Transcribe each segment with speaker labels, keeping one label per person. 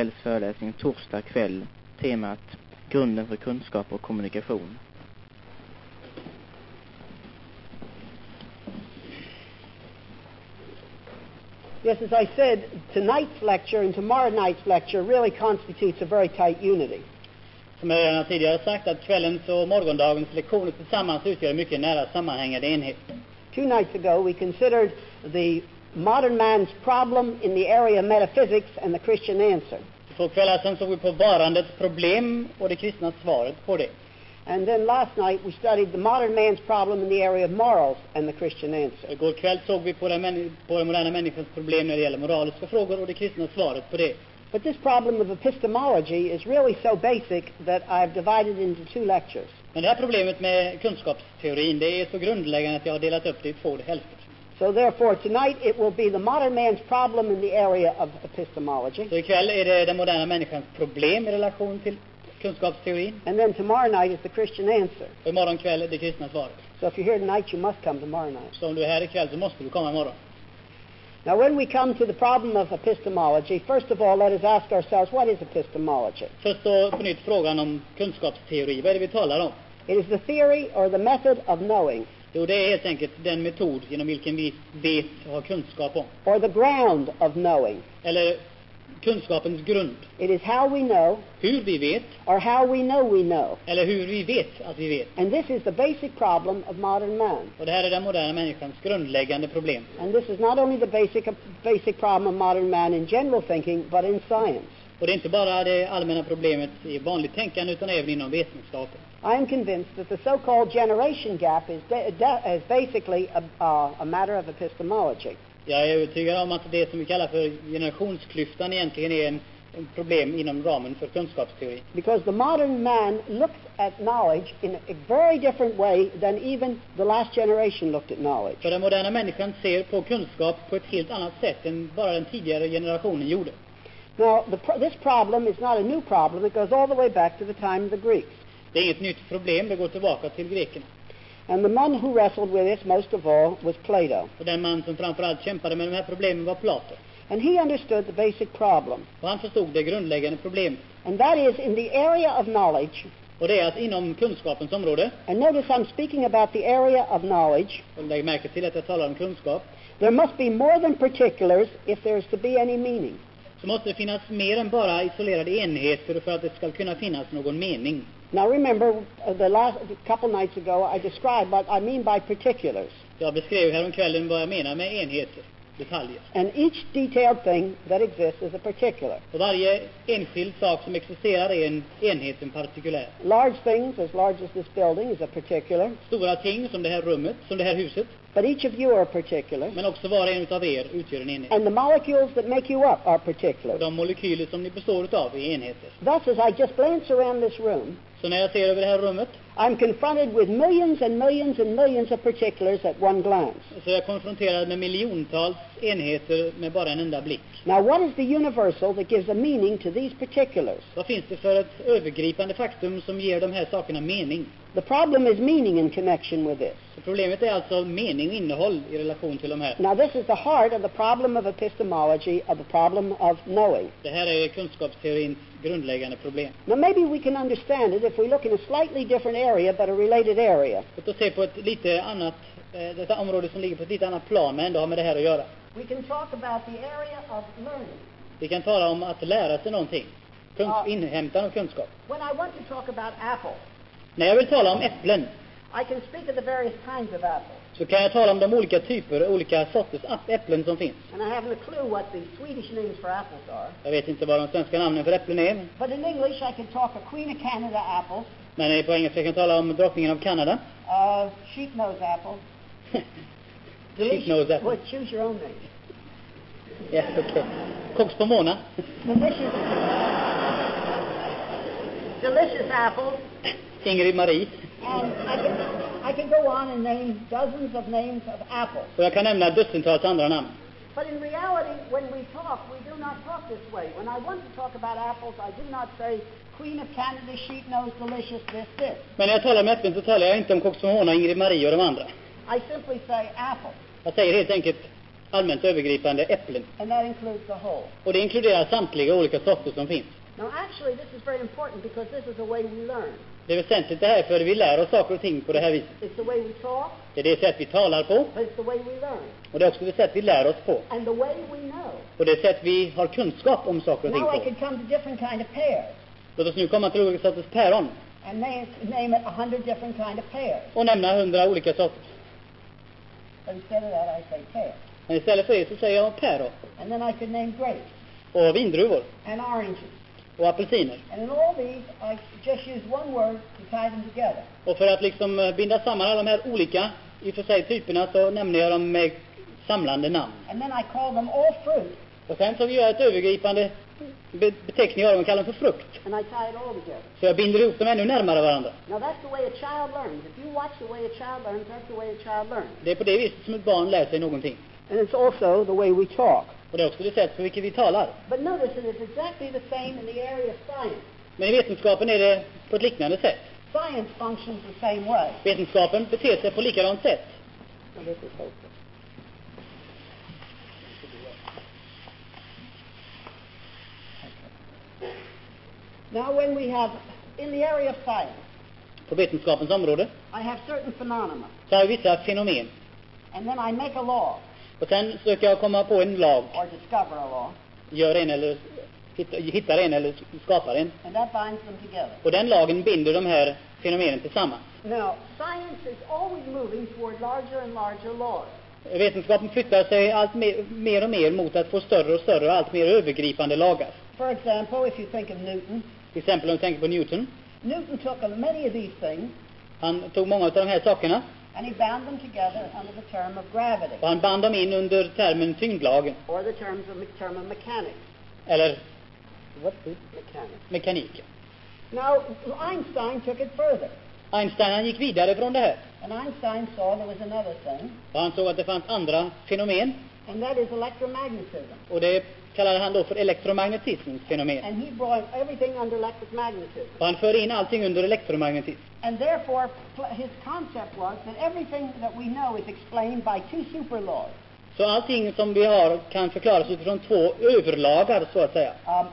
Speaker 1: kvällsföreläsning torsdag kväll. Temat Grunden för kunskap och kommunikation.
Speaker 2: Yes, as I said, tonight's lecture and tomorrow night's lecture really constitutes a very tight unity.
Speaker 3: Som jag redan tidigare sagt att kvällens och morgondagens lektioner tillsammans utgör en mycket nära sammanhängande enhet.
Speaker 2: Two nights ago, we considered the modern man's problem in the area of metaphysics and the Christian answer.
Speaker 3: För kvällar sedan såg vi på varandets problem och det kristna svaret på det.
Speaker 2: And then last night, we studied the modern man's problem in the area of morals and the Christian answer.
Speaker 3: Igår kväll såg vi på den, männi- på den moderna människans problem när det gäller moraliska frågor och det kristna svaret på det.
Speaker 2: But this problem of epistemology is really so basic that I've divided it into two lectures.
Speaker 3: Men det här problemet med kunskapsteorin, det är så grundläggande att jag har delat upp det i två hälfter.
Speaker 2: So therefore, tonight it will be the modern man's problem in the area of epistemology.
Speaker 3: Så ikväll är det den moderna människans problem i relation till kunskapsteorin.
Speaker 2: And then tomorrow night is the Christian answer.
Speaker 3: Och imorgon kväll är det kristna svaret.
Speaker 2: So if you're here tonight, you must come tomorrow night.
Speaker 3: Så om du är här ikväll så måste du komma imorgon.
Speaker 2: Now, when we come to the problem of epistemology, first of all, let us ask ourselves, what is epistemology?
Speaker 3: Först då på nytt frågan om kunskapsteori. Vad är det vi talar om?
Speaker 2: It is the theory or the method of knowing,
Speaker 3: Jo, det är helt enkelt den metod genom vilken vi vet och har kunskap om.
Speaker 2: or the ground of knowing.
Speaker 3: Eller kunskapens grund.
Speaker 2: It is how we know,
Speaker 3: Hur vi vet,
Speaker 2: or how we know we know.
Speaker 3: eller hur vi vet att vi vet.
Speaker 2: And this is the basic problem of modern man.
Speaker 3: Och det här är den moderna människans grundläggande problem.
Speaker 2: And this is not only the basic, basic problem of modern man in general thinking, but in science.
Speaker 3: Och det är inte bara det allmänna problemet i vanligt tänkande utan även inom vetenskapen.
Speaker 2: I am convinced that the so-called generation gap is, de- de- is basically a, uh, a matter of epistemology.
Speaker 3: Jag är övertygad om att det som vi kallar för generationsklyftan egentligen är en, en problem inom ramen för kunskapsteori.
Speaker 2: Because the modern man looks at knowledge in a very different way than even the last generation looked at knowledge.
Speaker 3: För den moderna människan ser på kunskap på ett helt annat sätt än bara den tidigare generationen gjorde.
Speaker 2: Now, the pro- this problem is not a new problem. It goes all the way back to the time of the Greeks.
Speaker 3: Det är inget nytt problem, det går tillbaka till grekerna.
Speaker 2: And the man who wrestled with this most of all was Plato.
Speaker 3: Och den man som framförallt kämpade med de här problemen var Plato.
Speaker 2: And he understood the basic problem.
Speaker 3: Och han förstod det grundläggande problemet.
Speaker 2: And that is, in the area of knowledge,
Speaker 3: Och det är att inom kunskapens område,
Speaker 2: and notice I'm speaking about the area of knowledge,
Speaker 3: och lägg märke till att jag talar om kunskap,
Speaker 2: There must be more than particulars if there is to be any meaning.
Speaker 3: så måste det finnas mer än bara isolerade enheter för att det ska kunna finnas någon mening.
Speaker 2: Now remember, uh, the last a couple nights ago, I described what I mean by particulars.
Speaker 3: Jag beskrev häromkvällen vad jag menar med enheter, detaljer.
Speaker 2: And each detailed thing that exists is a particular.
Speaker 3: Och varje enskild sak som existerar är en enhet, en partikulär.
Speaker 2: Large things, as large as this building, is a particular.
Speaker 3: Stora ting som det här rummet, som det här huset,
Speaker 2: But each of you are a particular.
Speaker 3: men också var och en utav er utgör en enhet.
Speaker 2: And the molecules that make you up are
Speaker 3: Och
Speaker 2: particular.
Speaker 3: de molekyler som ni består utav är enheter.
Speaker 2: Thus, as I just glance around this room,
Speaker 3: Så när jag ser över det här rummet
Speaker 2: I'm confronted with millions and millions and millions of particulars at one glance.
Speaker 3: så är jag konfronterad med miljontals enheter med bara en enda blick.
Speaker 2: Now, what is the universal that gives a meaning to these particulars?
Speaker 3: Vad finns det för ett övergripande faktum som ger de här sakerna mening?
Speaker 2: The problem is meaning in connection with this.
Speaker 3: Så problemet är alltså mening och innehåll i relation till de här.
Speaker 2: Now, this is the heart of the problem of epistemology, of the problem of knowing.
Speaker 3: Det här är kunskapsteorins grundläggande problem.
Speaker 2: Now, maybe we can understand it if we look in a slightly different area, but a related area.
Speaker 3: Låt oss se på ett lite annat, eh, detta område som ligger på ett lite annat plan men ändå har med det här att göra.
Speaker 2: We can talk about the area of learning.
Speaker 3: Vi kan tala om att lära sig någonting. Kunsk-
Speaker 2: Ja.
Speaker 3: Inhämtan av kunskap.
Speaker 2: When I want to talk about apples,
Speaker 3: När jag vill tala om äpplen
Speaker 2: I can speak of the various kinds of apples,
Speaker 3: så kan jag tala om de olika typer, olika sorters app- äpplen som finns.
Speaker 2: and I haven't a clue what the Swedish names for apples are.
Speaker 3: Jag vet inte vad de svenska namnen för äpplen är,
Speaker 2: But in English, I can talk of Queen of Canada apples,
Speaker 3: men eh, på engelska kan jag tala om drottningen av Kanada.
Speaker 2: uh, sheep nose apples.
Speaker 3: Sheepnose apple.
Speaker 2: Well, choose your own name.
Speaker 3: Ja, okej. Koks på Mona.
Speaker 2: Delicious. Delicious apples.
Speaker 3: Ingrid Marie.
Speaker 2: And I can, I can go on and name dozens of names of apples.
Speaker 3: Och jag kan nämna dussintals andra namn.
Speaker 2: But in reality, when we talk, we do not talk this way. When I want to talk about apples, I do not say Queen of Canada, sheep nose, delicious, this, this.
Speaker 3: Men när jag talar om äpplen så talar jag inte om Koks på Mona, Ingrid Marie och de andra.
Speaker 2: I simply say apple.
Speaker 3: Jag säger helt enkelt allmänt övergripande äpplen.
Speaker 2: and that includes the whole.
Speaker 3: Och det inkluderar samtliga olika sorter som finns.
Speaker 2: Now, actually, this is very important because this is the way we learn.
Speaker 3: Det är väsentligt det här för vi lär oss saker och ting på det här viset.
Speaker 2: It's the way we talk,
Speaker 3: Det är det sätt vi talar på
Speaker 2: but it's the way we learn,
Speaker 3: och det är också det sätt vi lär oss på.
Speaker 2: and the way we know.
Speaker 3: Och det sätt vi har kunskap om saker och ting
Speaker 2: Now I
Speaker 3: på.
Speaker 2: could come to different kind of pears
Speaker 3: Låt oss nu komma till olika sorters päron
Speaker 2: and name, name it a hundred different kind of pears.
Speaker 3: och nämna hundra olika sorter.
Speaker 2: But instead of that, I say pear.
Speaker 3: Men istället för det så säger jag päron
Speaker 2: And then I could name grapes
Speaker 3: och vindruvor
Speaker 2: and oranges.
Speaker 3: och apelsiner.
Speaker 2: And in all these, I just use one word to tie them together.
Speaker 3: Och för att liksom eh, binda samman alla de här olika, i och för sig, typerna så nämner jag dem med samlande namn.
Speaker 2: And then I call them all fruit,
Speaker 3: Och sen så gör jag ett övergripande be- beteckning av dem och kallar dem för frukt.
Speaker 2: and I tie it all together.
Speaker 3: Så jag binder ihop dem ännu närmare varandra.
Speaker 2: Now that's the way a child learns. If you watch the way a child learns, that's the way a child learns.
Speaker 3: Det är på det viset som ett barn lär sig någonting.
Speaker 2: And it's also the way we talk.
Speaker 3: Och det är också det sätt på vilket vi talar.
Speaker 2: But notice it is exactly the same in the area of science.
Speaker 3: Men i vetenskapen är det på ett liknande sätt.
Speaker 2: Science functions the same way.
Speaker 3: Vetenskapen beter sig på likadant sätt.
Speaker 2: Now, this is hopeful. Now when we have, in the area of science,
Speaker 3: På vetenskapens område
Speaker 2: I have certain phenomena,
Speaker 3: så har vi vissa fenomen.
Speaker 2: and then I make a law,
Speaker 3: Och sen söker jag komma på en lag.
Speaker 2: or discover a law,
Speaker 3: Gör en eller hitta- hittar en eller skapar en.
Speaker 2: and that binds them together.
Speaker 3: Och den lagen binder de här fenomenen tillsammans.
Speaker 2: Now, science is always moving toward larger and larger laws.
Speaker 3: Vetenskapen flyttar sig allt mer, mer och mer mot att få större och större och allt mer övergripande lagar.
Speaker 2: For example, if you think of Newton,
Speaker 3: Till exempel om vi tänker på Newton.
Speaker 2: Newton took on many of these things,
Speaker 3: Han tog många av de här sakerna
Speaker 2: and he bound them together under the term of gravity,
Speaker 3: och han band dem in under termen tyngdlagen.
Speaker 2: or the terms of, term of mechanics.
Speaker 3: Eller
Speaker 2: Mechanics.
Speaker 3: mekanik.
Speaker 2: Now, Einstein took it further,
Speaker 3: Einstein han gick vidare från det här.
Speaker 2: and Einstein saw there was another thing,
Speaker 3: Och han såg att det fanns andra fenomen
Speaker 2: and that is electromagnetism.
Speaker 3: och det kallade han då för elektromagnetismens fenomen.
Speaker 2: And he brought everything under electric magnetism.
Speaker 3: Och han för in allting under elektromagnetism.
Speaker 2: And therefore, pl- his concept was that everything that we know is explained by two super laws.
Speaker 3: Så allting som vi har kan förklaras utifrån två överlagar så att säga.
Speaker 2: um,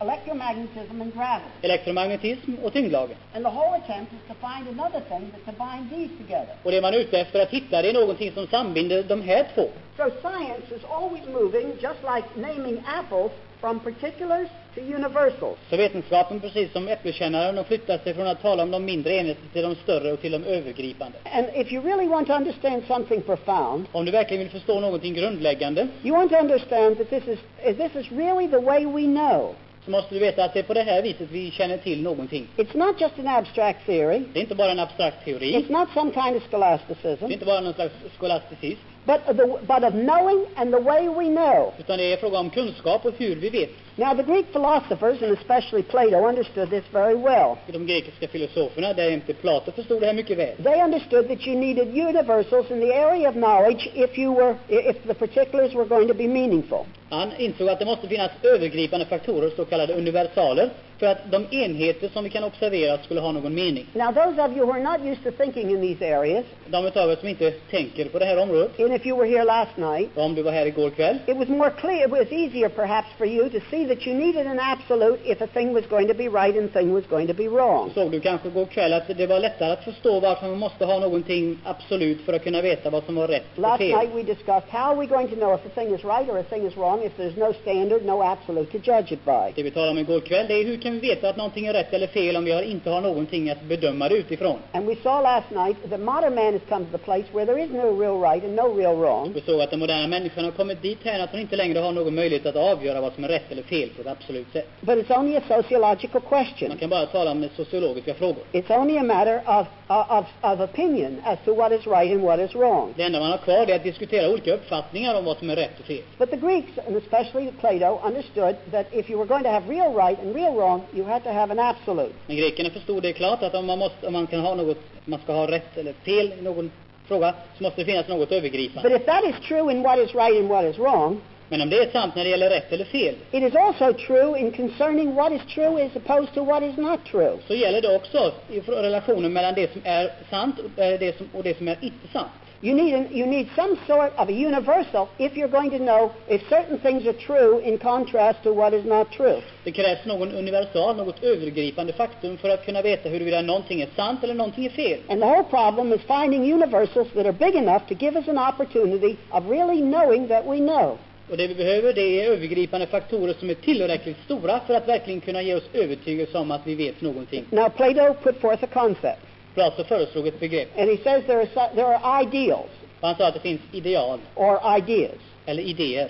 Speaker 2: electromagnetism and gravity.
Speaker 3: Elektromagnetism och tyngdlagen.
Speaker 2: And the whole attempt is to find another thing that can bind these together.
Speaker 3: Och det man är ute efter att hitta det är någonting som sambinder de här två.
Speaker 2: So science is always moving, just like naming apples, from particulars to universals.
Speaker 3: Så vetenskapen, precis som äppelkännaren, de flyttar sig från att tala om de mindre enheterna till de större och till de övergripande.
Speaker 2: And if you really want to understand something profound,
Speaker 3: Om du verkligen vill förstå någonting grundläggande
Speaker 2: you want to understand that this is, uh, this is really the way we know.
Speaker 3: så måste du veta att det är på det här viset vi känner till någonting.
Speaker 2: It's not just an abstract theory.
Speaker 3: Det är inte bara en abstrakt teori,
Speaker 2: It's not some kind of
Speaker 3: det är
Speaker 2: scholasticism,
Speaker 3: inte bara någon slags skolasticism,
Speaker 2: but of, the, but of knowing and the way we know.
Speaker 3: utan det är fråga om kunskap och hur vi vet.
Speaker 2: Now, the Greek philosophers, and especially Plato, understood this very well.
Speaker 3: De grekiska filosoferna, därjämte Plato, förstod det här mycket väl.
Speaker 2: They understood that you needed universals in the area of knowledge if you were if the particulars were going to be meaningful.
Speaker 3: Han insåg att det måste finnas övergripande faktorer, så kallade universaler, för att de enheter som vi kan observera skulle ha någon mening.
Speaker 2: Now, those of you who are not used to thinking in these areas,
Speaker 3: De utav er som inte tänker på det här området,
Speaker 2: and if you were here last night,
Speaker 3: och om du var här igår kväll,
Speaker 2: it was more clear, it was easier perhaps for you to see that you needed an absolute if a thing was going to be right and a thing was going to be
Speaker 3: så
Speaker 2: wrong.
Speaker 3: såg du kanske igår kväll att det var lättare att förstå varför man måste ha någonting absolut för att kunna veta vad som var rätt och
Speaker 2: Last
Speaker 3: fel.
Speaker 2: night we discussed how are we going to know if a thing is right or a thing is wrong if there's no standard, no absolute to judge it by.
Speaker 3: Det vi talade om igår kväll, det är hur kan vi veta att någonting är rätt eller fel om vi har- inte har någonting att bedöma det utifrån?
Speaker 2: And we saw last night that modern man has come to the place where there is no real right and no real wrong.
Speaker 3: Vi såg att den moderna människan har kommit dit här att hon inte längre har någon möjlighet att avgöra vad som är rätt eller fel på ett absolut sätt.
Speaker 2: But it's only a sociological
Speaker 3: Man
Speaker 2: question.
Speaker 3: kan bara tala om sociologiska frågor.
Speaker 2: It's only a matter of, of, of opinion as to what is right and what is wrong.
Speaker 3: Det enda man har kvar det är att diskutera olika uppfattningar om vad som är rätt och fel.
Speaker 2: But the Greeks, and especially Plato, understood that if you were going to have real right and real wrong, you had to have an absolute.
Speaker 3: Men grekerna förstod det klart att om man, måste, om man kan ha något, man ska ha rätt eller fel i någon fråga, så måste det finnas något
Speaker 2: But
Speaker 3: övergripande.
Speaker 2: if that is true in what is right and what is wrong,
Speaker 3: Men om det är sant när det gäller rätt eller fel,
Speaker 2: it is also true in concerning what is true as opposed to what is not true.
Speaker 3: så gäller det också i fr- relationen mellan det som är sant och eh, det som, och det som är inte sant.
Speaker 2: You need, an, you need some sort of a universal if you're going to know if certain things are true in contrast to what is not true.
Speaker 3: Det krävs någon universal, något övergripande faktum för att kunna veta huruvida någonting är sant eller någonting är fel.
Speaker 2: And the whole problem is finding universals that are big enough to give us an opportunity of really knowing that we know.
Speaker 3: Och det vi behöver det är övergripande faktorer som är tillräckligt stora för att verkligen kunna ge oss övertygelse om att vi vet någonting.
Speaker 2: Now, Plato put forth a concept,
Speaker 3: Plato föreslog ett begrepp.
Speaker 2: and he says there are, so- there are ideals
Speaker 3: Och han sa att det finns ideal,
Speaker 2: or ideas.
Speaker 3: eller idéer.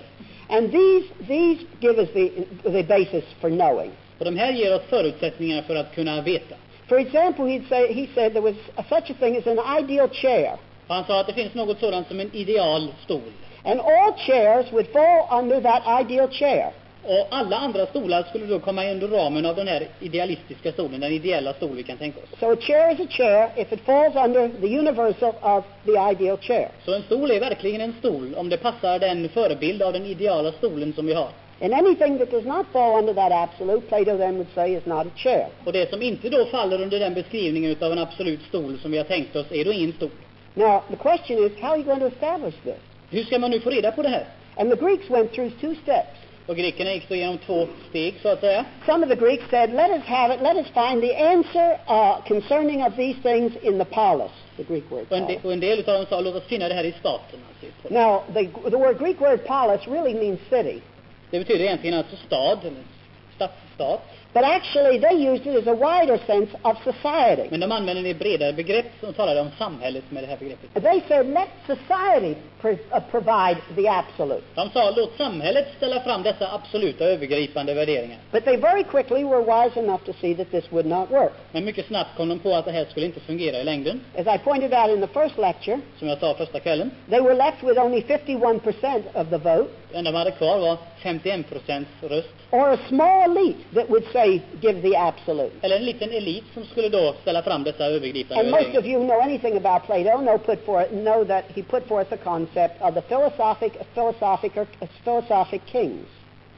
Speaker 2: And these, these give us the, the basis for knowing.
Speaker 3: Och de här ger oss förutsättningar för att kunna veta.
Speaker 2: For example, he'd say, he said there was such a thing as an ideal chair.
Speaker 3: Och han sa att det finns något sådant som en ideal stol.
Speaker 2: And all chairs would fall under that ideal chair.
Speaker 3: Och alla andra stolar skulle då komma under ramen av den här idealistiska stolen, den ideella stol vi kan tänka oss.
Speaker 2: So a chair is a chair if it falls under the universal of the ideal chair.
Speaker 3: Så en stol är verkligen en stol om det passar den förebild av den ideala stolen som vi har.
Speaker 2: And anything that does not fall under that absolute, Plato then would say is not a chair.
Speaker 3: Och det som inte då faller under den beskrivningen utav en absolut stol som vi har tänkt oss är då ingen stol.
Speaker 2: Now, the question is, how are you going to establish this?
Speaker 3: Hur ska man nu få reda på det här?
Speaker 2: And the Greeks went through two steps.
Speaker 3: Och grekerna gick då igenom två steg så att säga.
Speaker 2: Some of the Greeks said, let us have it, let us find the answer uh, concerning of these things in the polis, the Greek word
Speaker 3: Och en, de,
Speaker 2: polis.
Speaker 3: och en del utav dem sa låt oss finna det här i staten. Alltså.
Speaker 2: Now, the, the word, Greek word polis really means city.
Speaker 3: Det betyder egentligen alltså stad, eller stadsstat.
Speaker 2: But actually, they used it as a wider sense of society.
Speaker 3: Men de använder det bredare begrepp som talade om samhället med det här begreppet.
Speaker 2: They said, let society pr- uh, provide the absolute.
Speaker 3: De sa låt samhället ställa fram dessa absoluta övergripande värderingar.
Speaker 2: But they very quickly were wise enough to see that this would not work.
Speaker 3: Men mycket snabbt kom de på att det här skulle inte fungera i längden,
Speaker 2: As I pointed out in the first lecture,
Speaker 3: som jag sa första kvällen.
Speaker 2: they were left with only 51% of the vote,
Speaker 3: Det enda de hade kvar var 51 procents röst.
Speaker 2: or a small elite that would say, give the absolute.
Speaker 3: Eller en liten elit som skulle då ställa fram dessa övergripande
Speaker 2: And most
Speaker 3: värderingar.
Speaker 2: of you know anything about Plato, know, put forth, know that he put forth the concept of the philosophic, philosophic, or, philosophic kings.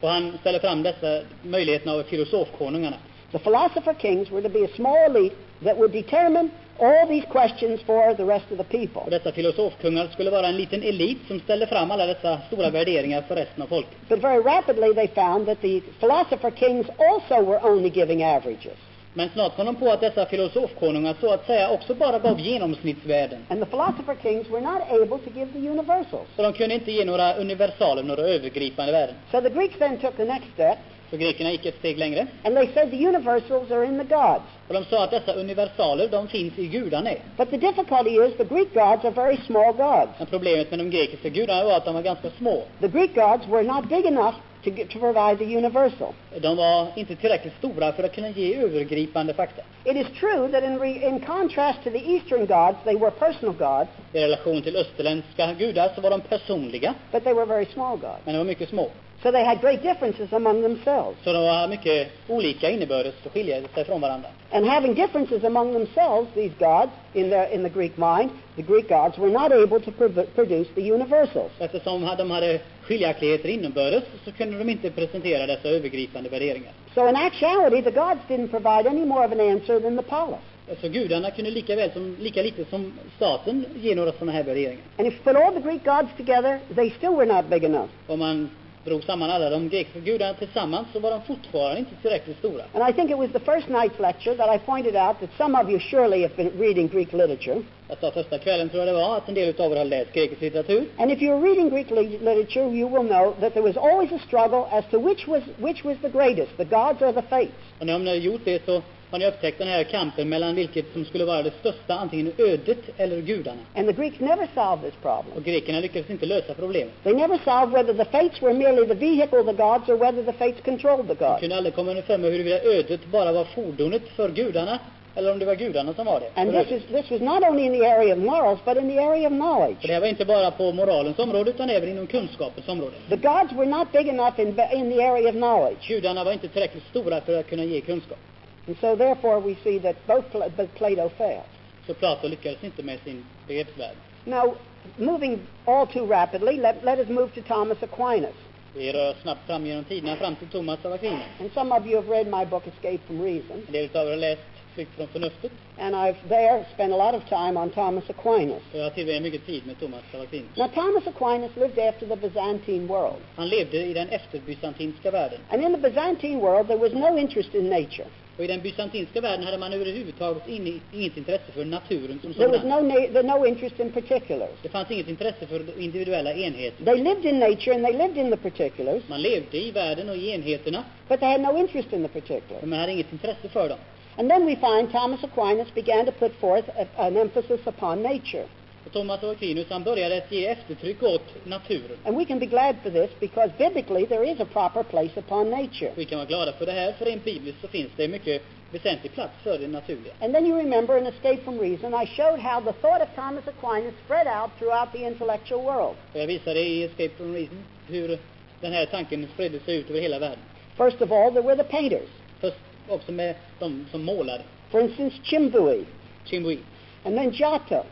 Speaker 3: Och han ställer fram dessa möjligheterna av filosofkonungarna.
Speaker 2: The philosopher kings were to be a small elite that would determine all these questions for the rest of the people.
Speaker 3: Och dessa filosofkungar skulle vara en liten elit som ställde fram alla dessa stora värderingar för resten av folket.
Speaker 2: But very rapidly they found that the philosopher kings also were only giving averages.
Speaker 3: Men snart kom de på att dessa filosofkonungar så att säga också bara gav genomsnittsvärden.
Speaker 2: And the philosopher kings were not able to give the universals.
Speaker 3: Så de kunde inte ge några universaler, några övergripande värden.
Speaker 2: So the Greeks then took the next step,
Speaker 3: Så grekerna gick ett steg längre.
Speaker 2: and they said the universals are in the gods.
Speaker 3: Och de sa att dessa universaler, de finns i gudarna.
Speaker 2: But the difficulty is the Greek gods are very small gods.
Speaker 3: Men problemet med de grekiska gudarna var att de var ganska små.
Speaker 2: The Greek gods were not big enough to, get, to provide the universal.
Speaker 3: De var inte tillräckligt stora för att kunna ge övergripande fakta.
Speaker 2: It is true that in, re, in contrast to the Eastern gods, they were personal gods,
Speaker 3: I relation till österländska gudar så var de personliga,
Speaker 2: but they were very small gods.
Speaker 3: men de var mycket små.
Speaker 2: So they had great differences among themselves.
Speaker 3: Så de var mycket olika innebördes och skiljer sig från varandra.
Speaker 2: And having differences among themselves, these gods, in the, in the Greek mind, the Greek gods were not able to prov- produce the universals.
Speaker 3: Eftersom de hade skiljaktigheter innebördes så kunde de inte presentera dessa övergripande värderingar.
Speaker 2: So in actuality, the gods didn't provide any more of an answer than the polis.
Speaker 3: Så gudarna kunde lika, väl som, lika lite som staten ge några sådana här värderingar.
Speaker 2: And if you put all the Greek gods together, they still were not big enough.
Speaker 3: Om man drog samman alla de grekiska gudarna tillsammans så var de fortfarande inte tillräckligt stora.
Speaker 2: And I think it was the first night's lecture that I pointed out that some of you surely have been reading Greek literature.
Speaker 3: Jag sa första kvällen tror jag det var att en del utav er har läst grekisk litteratur.
Speaker 2: And if you're reading Greek li- literature, you will know that there was always a struggle as to which was, which was the greatest, the gods or the fates.
Speaker 3: Och när ni har gjort det så har ni upptäckt den här kampen mellan vilket som skulle vara det största, antingen ödet eller gudarna.
Speaker 2: And the Greeks never solved this problem.
Speaker 3: Och grekerna lyckades inte lösa problemet.
Speaker 2: They never solved whether the fates were merely the vehicle of the gods or whether the fates controlled the
Speaker 3: De
Speaker 2: gods.
Speaker 3: kunde aldrig komma underfund med huruvida ödet bara var fordonet för gudarna, eller om det var gudarna som var det.
Speaker 2: And
Speaker 3: för
Speaker 2: this,
Speaker 3: ödet.
Speaker 2: is, this was not only in the area of morals, but in the area of knowledge.
Speaker 3: För det här var inte bara på moralens område, utan även inom kunskapens område.
Speaker 2: The gods were not big enough in, in the area of knowledge.
Speaker 3: Gudarna var inte tillräckligt stora för att kunna ge kunskap.
Speaker 2: And so therefore we see that both Pla- but Plato failed.
Speaker 3: Så Plato lyckades inte med sin begreppsvärld.
Speaker 2: Now, moving all too rapidly, let, let us move to Thomas Aquinas.
Speaker 3: Vi rör oss snabbt fram genom tiderna fram till Thomas av Aquino.
Speaker 2: And some of you have read my book, Escape from Reason.
Speaker 3: En del utav er har läst flykt från förnuftet.
Speaker 2: And I've there spent a lot of time on Thomas Aquinas.
Speaker 3: Och jag tillbringar mycket tid med Thomas Aquinas.
Speaker 2: Now, Thomas Aquinas lived after the Byzantine world.
Speaker 3: Han levde i den efterbysantinska världen.
Speaker 2: And in the Byzantine world, there was no interest in nature.
Speaker 3: Och i den bysantinska världen hade man överhuvudtaget in, inget intresse för naturen som
Speaker 2: There was
Speaker 3: sådan.
Speaker 2: no, na- there no interest in particulars.
Speaker 3: Det fanns inget intresse för individuella enheter.
Speaker 2: They lived in nature and they lived in the particulars,
Speaker 3: Man levde i världen och i enheterna,
Speaker 2: but they had no interest in the
Speaker 3: men
Speaker 2: particulars.
Speaker 3: man hade inget intresse för dem.
Speaker 2: And then we find Thomas Aquinas began to put forth a, an emphasis upon nature.
Speaker 3: Och Thomas Aquinas han började att ge eftertryck åt naturen.
Speaker 2: And we can be glad for this because biblically there is a proper place upon nature.
Speaker 3: Vi kan vara glada för det här, för rent bibliskt så finns det en mycket väsentlig plats för det naturliga.
Speaker 2: And then you remember in Escape from Reason, I showed how the thought of Thomas Aquinas spread out throughout the intellectual world.
Speaker 3: Och jag visade i Escape from Reason hur den här tanken spredde sig ut över hela världen.
Speaker 2: First of all, there were the painters.
Speaker 3: Först också med de som målade,
Speaker 2: For instance, Chimbué
Speaker 3: Chimbuit,
Speaker 2: and then Giotto.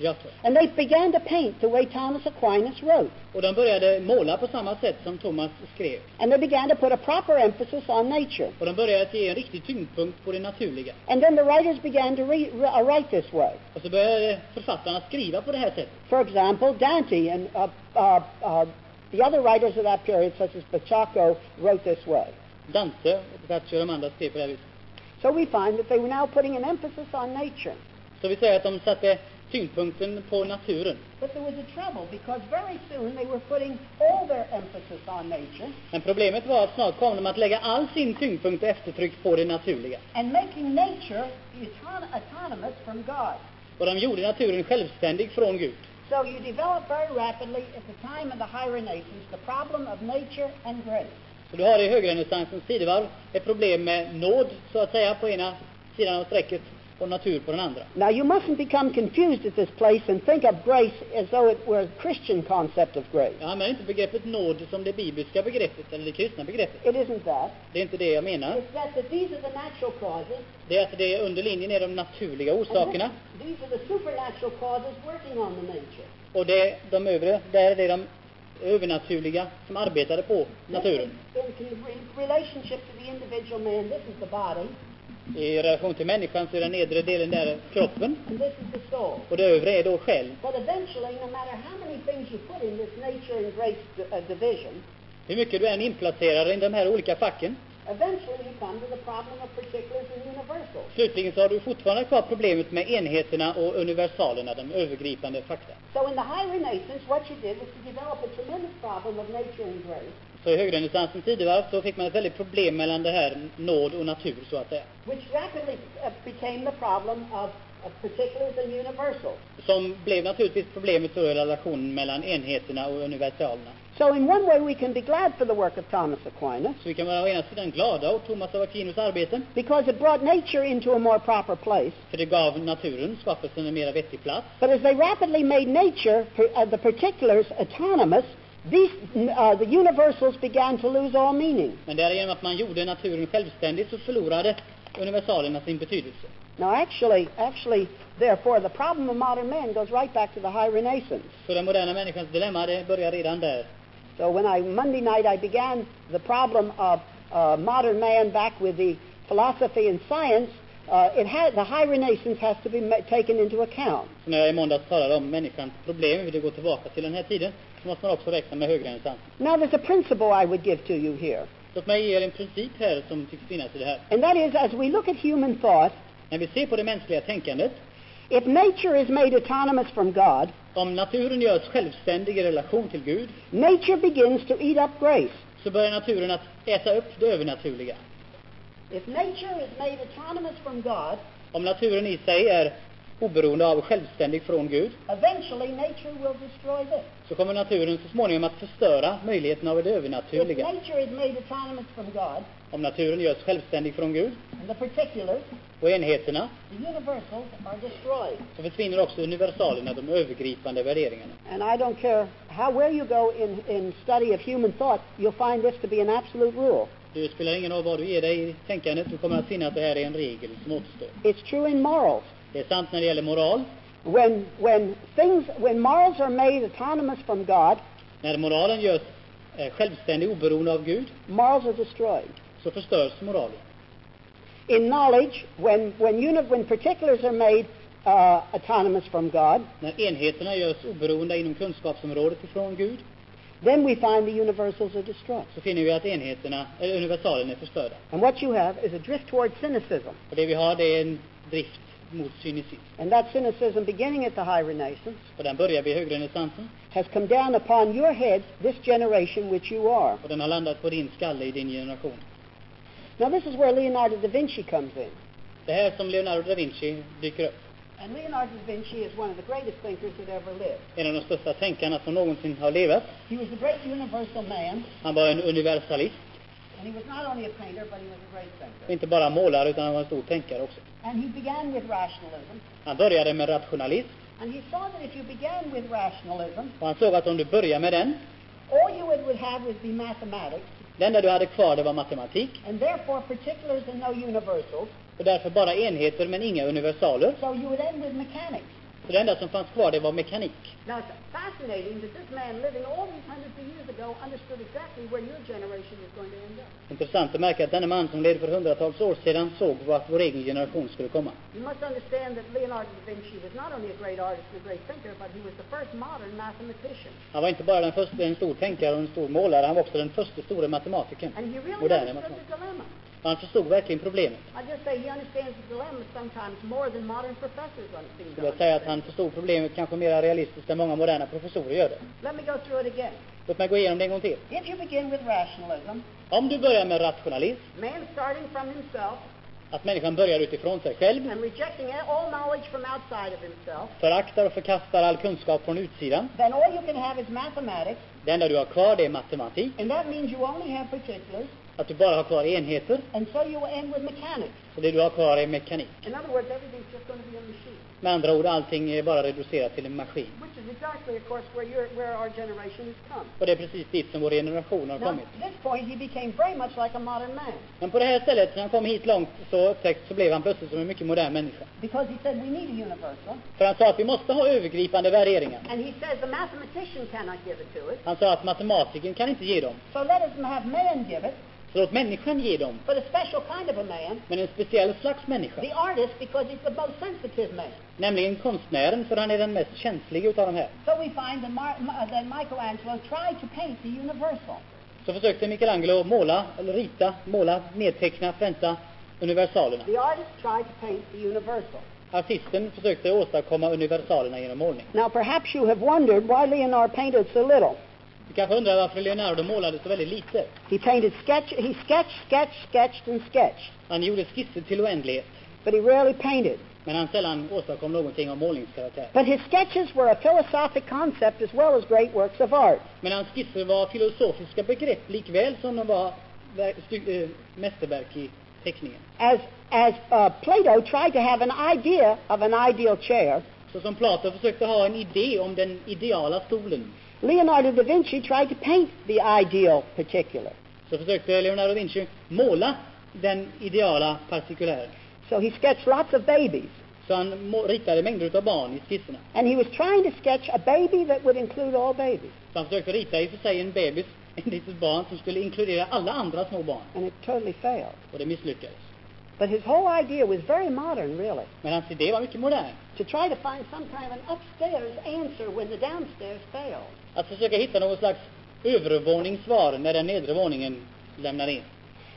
Speaker 3: Giotto.
Speaker 2: And they began to paint the way Thomas Aquinas wrote.
Speaker 3: Och de började måla på samma sätt som Thomas skrev.
Speaker 2: And they began to put a proper emphasis on nature.
Speaker 3: Och de började att ge en riktig tyngdpunkt på det naturliga.
Speaker 2: And then the writers began to re- re- uh, write this way.
Speaker 3: Och så började författarna skriva på det här sättet.
Speaker 2: For example, Dante and uh, uh, uh, the other writers of that period, such as Bacacco, wrote this way.
Speaker 3: Dante och Boccaccio och de andra skrev på det här viset.
Speaker 2: So we find that they were now putting an emphasis on nature.
Speaker 3: Så vi säger att de satte tyngdpunkten på naturen.
Speaker 2: But there was a trouble because very soon they were putting all their emphasis on nature
Speaker 3: Men problemet var att snart kom de att lägga all sin tyngdpunkt och eftertryck på det naturliga.
Speaker 2: and making nature auton- autonomous from God.
Speaker 3: Och de gjorde naturen självständig från Gud.
Speaker 2: So you develop very rapidly at the time of the high renaissance the problem of nature and grace.
Speaker 3: Så du har i högrenässansens tidevarv ett problem med nåd, så att säga, på ena sidan av strecket och natur på den andra.
Speaker 2: Now you mustn't become confused at this place and think of grace as though it were a Christian concept of grace.
Speaker 3: Jag använder inte begreppet nåd som det bibliska begreppet eller det kristna begreppet.
Speaker 2: It isn't that.
Speaker 3: Det är inte det jag menar.
Speaker 2: It's that, that these are the natural causes.
Speaker 3: Det är att det under linjen är de naturliga
Speaker 2: and
Speaker 3: orsakerna
Speaker 2: this- these are the supernatural causes working on the nature.
Speaker 3: och det är de övre, där är det de övernaturliga som arbetade på naturen.
Speaker 2: This is in con- relationship to the individual man, this is the body,
Speaker 3: I relation till människan så är den nedre delen där kroppen
Speaker 2: and this is the soul.
Speaker 3: och det övre är då själ.
Speaker 2: But eventually, no matter how many things you put in this nature and grace d- uh, division,
Speaker 3: Hur mycket du än inplacerar i de här olika facken,
Speaker 2: eventually you come to the problem of particulars and universals.
Speaker 3: slutligen så har du fortfarande kvar problemet med enheterna och universalerna, de övergripande fakta.
Speaker 2: So in the High Renaissance, what you did was to develop a tremendous problem of nature and grace,
Speaker 3: Så i högrenässansens tidevarv så fick man ett väldigt problem mellan det här nåd och natur, så att säga.
Speaker 2: which rapidly uh, became the problem of, of particulars and universals.
Speaker 3: Som blev naturligtvis problemet då i relationen mellan enheterna och universalerna.
Speaker 2: So in one way, we can be glad for the work of Thomas Aquinas
Speaker 3: Så vi kan vara å ena sidan glada åt Thomas av Aquinos arbete,
Speaker 2: because it brought nature into a more proper place.
Speaker 3: för det gav naturen, skapelsen, en mera vettig plats.
Speaker 2: But as they rapidly made nature, per- uh, the particulars, autonomous, these, uh, the universals began to lose all meaning.
Speaker 3: Men därigenom att man gjorde naturen självständig så förlorade universalerna sin betydelse.
Speaker 2: Now, actually, actually, therefore, the problem of modern man goes right back to the High Renaissance.
Speaker 3: Så den moderna människans dilemma det börjar redan där.
Speaker 2: So when I Monday night I began the problem of uh, modern man back with the philosophy and science, uh, it had, the High Renaissance has to be ma- taken into account.
Speaker 3: Så när jag i måndags talade om människans problem, hur det går tillbaka till den här tiden, så måste man också räkna med högrenässansen.
Speaker 2: Now, there's a principle I would give to you here,
Speaker 3: Låt mig ge er en princip här som tycks finnas i det här.
Speaker 2: and that is as we look at human thought,
Speaker 3: När vi ser på det mänskliga tänkandet,
Speaker 2: if nature is made autonomous from God,
Speaker 3: om naturen görs självständig i relation till Gud,
Speaker 2: Nature begins to eat up grace.
Speaker 3: så börjar naturen att äta upp det övernaturliga.
Speaker 2: If nature is made autonomous from God,
Speaker 3: Om naturen i sig är oberoende av och självständig från Gud,
Speaker 2: eventually nature will destroy this.
Speaker 3: så kommer naturen så småningom att förstöra möjligheten av det
Speaker 2: If
Speaker 3: övernaturliga.
Speaker 2: nature is made autonomous from God,
Speaker 3: Om naturen görs självständig från Gud
Speaker 2: and the particulars,
Speaker 3: och enheterna,
Speaker 2: the universals, are destroyed.
Speaker 3: så försvinner också universalerna, de övergripande värderingarna.
Speaker 2: And I don't care how where you go in, in study of human thought, you'll find this to be an absolute rule.
Speaker 3: Det spelar ingen roll vad du ger dig i tänkandet, du kommer att finna att det här är en regel som återstår.
Speaker 2: It's true in morals.
Speaker 3: Det är sant när det gäller moral.
Speaker 2: When, when, things, when morals are made autonomous from God,
Speaker 3: När moralen görs eh, självständig, oberoende av Gud,
Speaker 2: morals are destroyed.
Speaker 3: så förstörs moralen.
Speaker 2: in knowledge, when, when, uni- when particulars are made uh, autonomous from God,
Speaker 3: När enheterna görs oberoende inom kunskapsområdet ifrån Gud
Speaker 2: then we find the universals are destroyed.
Speaker 3: så finner vi att enheterna, eller universalen är förstörda.
Speaker 2: And what you have is a drift toward cynicism.
Speaker 3: Och det vi har det är en drift mot cynism.
Speaker 2: And that cynicism, beginning at the High Renaissance,
Speaker 3: Och den börjar vid högrenässansen
Speaker 2: has come down upon your heads, this generation which you are.
Speaker 3: och den har landat på din skalle i din generation.
Speaker 2: Now, this is where Leonardo da Vinci comes in.
Speaker 3: Det här som Leonardo da Vinci dyker upp.
Speaker 2: And Leonardo da Vinci is one of the greatest thinkers that ever lived.
Speaker 3: En av de största tänkarna som någonsin har levat.
Speaker 2: He was a great universal man,
Speaker 3: Han var en universalist.
Speaker 2: and he was not only a painter, but he was a great thinker.
Speaker 3: Inte bara målare utan han var en stor tänkare också.
Speaker 2: And he began with rationalism,
Speaker 3: Han började med rationalism
Speaker 2: and he saw that if you began with rationalism,
Speaker 3: och han såg att om du börjar med den,
Speaker 2: all you would, would have would be mathematics,
Speaker 3: det enda du hade kvar det var matematik
Speaker 2: and therefore particulars and no universals,
Speaker 3: och därför bara enheter men inga universaler.
Speaker 2: so you would end with mechanics.
Speaker 3: Så det enda som fanns kvar det var mekanik.
Speaker 2: Now, it's fascinating that this man living all these hundreds of years ago understood exactly where your generation was going to end up.
Speaker 3: Intressant att märka att denne man som levde för hundratals år sedan såg vart vår egen generation skulle komma.
Speaker 2: You must understand that Leonardo da Vinci was not only a great artist and a great thinker, but he was the first modern mathematician.
Speaker 3: Han var inte bara den första, en stor tänkare och en stor målare, han var också den första stora matematikern.
Speaker 2: And he really
Speaker 3: Modern
Speaker 2: understood
Speaker 3: mathematiker.
Speaker 2: the dilemma.
Speaker 3: Och han förstod verkligen problemet.
Speaker 2: I just say he understands the dilemma sometimes more than modern professors seem
Speaker 3: Jag
Speaker 2: to
Speaker 3: vill säga att
Speaker 2: understand.
Speaker 3: han förstod problemet kanske mer realistiskt än många moderna professorer gör det.
Speaker 2: Let me go through it again.
Speaker 3: Låt mig gå igenom det en gång till.
Speaker 2: If you begin with rationalism,
Speaker 3: Om du börjar med rationalism,
Speaker 2: man starting from himself
Speaker 3: att människan börjar utifrån sig själv,
Speaker 2: and rejecting all knowledge from outside of himself,
Speaker 3: föraktar och förkastar all kunskap från utsidan.
Speaker 2: then all you can have is mathematics,
Speaker 3: Det enda du har kvar det är matematik,
Speaker 2: and that means you only have particulars,
Speaker 3: att du bara har kvar enheter,
Speaker 2: and so you end with mechanics.
Speaker 3: och det du har kvar är mekanik.
Speaker 2: In other words, everything's just going to be a machine.
Speaker 3: Med andra ord, allting är bara reducerat till en maskin.
Speaker 2: Which is exactly, of course, where, your, where our generation has come.
Speaker 3: Och det är precis dit som vår generation har
Speaker 2: Now,
Speaker 3: kommit.
Speaker 2: at this point, he became very much like a modern man
Speaker 3: Men på det här stället, när han kom hit långt, så upptäckt så blev han plötsligt som en mycket modern människa.
Speaker 2: because he said we need a universal,
Speaker 3: För han sa att vi måste ha övergripande värderingar.
Speaker 2: and he says the mathematician cannot give it to us,
Speaker 3: Han sa att matematiken kan inte ge dem,
Speaker 2: so let us have man give it,
Speaker 3: så låt människan ge dem.
Speaker 2: but a special kind of a man,
Speaker 3: Men en speciell slags människa,
Speaker 2: the artist, because he's the most sensitive man.
Speaker 3: nämligen konstnären, för han är den mest känsliga utav de här.
Speaker 2: So we find that, Mar- Ma- that Michelangelo tried to paint the universal,
Speaker 3: Så försökte Michelangelo måla, eller rita, måla, nedteckna, pränta universalerna.
Speaker 2: the artist tried to paint the universal.
Speaker 3: Artisten försökte åstadkomma universalerna genom målning.
Speaker 2: Now, perhaps you have wondered why Leonardo painted so little.
Speaker 3: Du kanske undrar varför Leonardo målade så väldigt lite?
Speaker 2: He painted sketch, he sketched, sketched, sketched, and sketched,
Speaker 3: Han gjorde skisser till oändlighet,
Speaker 2: but he rarely painted.
Speaker 3: men han sällan åstadkom någonting av målningskaraktär.
Speaker 2: But his sketches were a philosophic concept as well as great works of art.
Speaker 3: Men hans skisser var filosofiska begrepp likväl som de var ver- sty- eh, mästerverk i teckningen.
Speaker 2: As, as uh, Plato tried to have an idea of an ideal chair,
Speaker 3: Så som Platon försökte ha en idé om den ideala stolen,
Speaker 2: Leonardo da Vinci tried to paint the ideal particular.
Speaker 3: så försökte Leonardo da Vinci måla den ideala partikulären.
Speaker 2: So he sketched lots of babies,
Speaker 3: Så han må- ritade mängder av barn i skisserna.
Speaker 2: and he was trying to sketch a baby that would include all babies,
Speaker 3: Så han försökte rita i och för sig en bebis, en litet barn som skulle inkludera alla andra små barn.
Speaker 2: and it totally failed.
Speaker 3: Och det misslyckades.
Speaker 2: But his whole idea was very modern, really,
Speaker 3: Men hans idé var mycket modern.
Speaker 2: to try to find some kind of an upstairs answer when the downstairs failed.
Speaker 3: Att försöka hitta någon slags övervåningssvar när den nedre våningen lämnar in.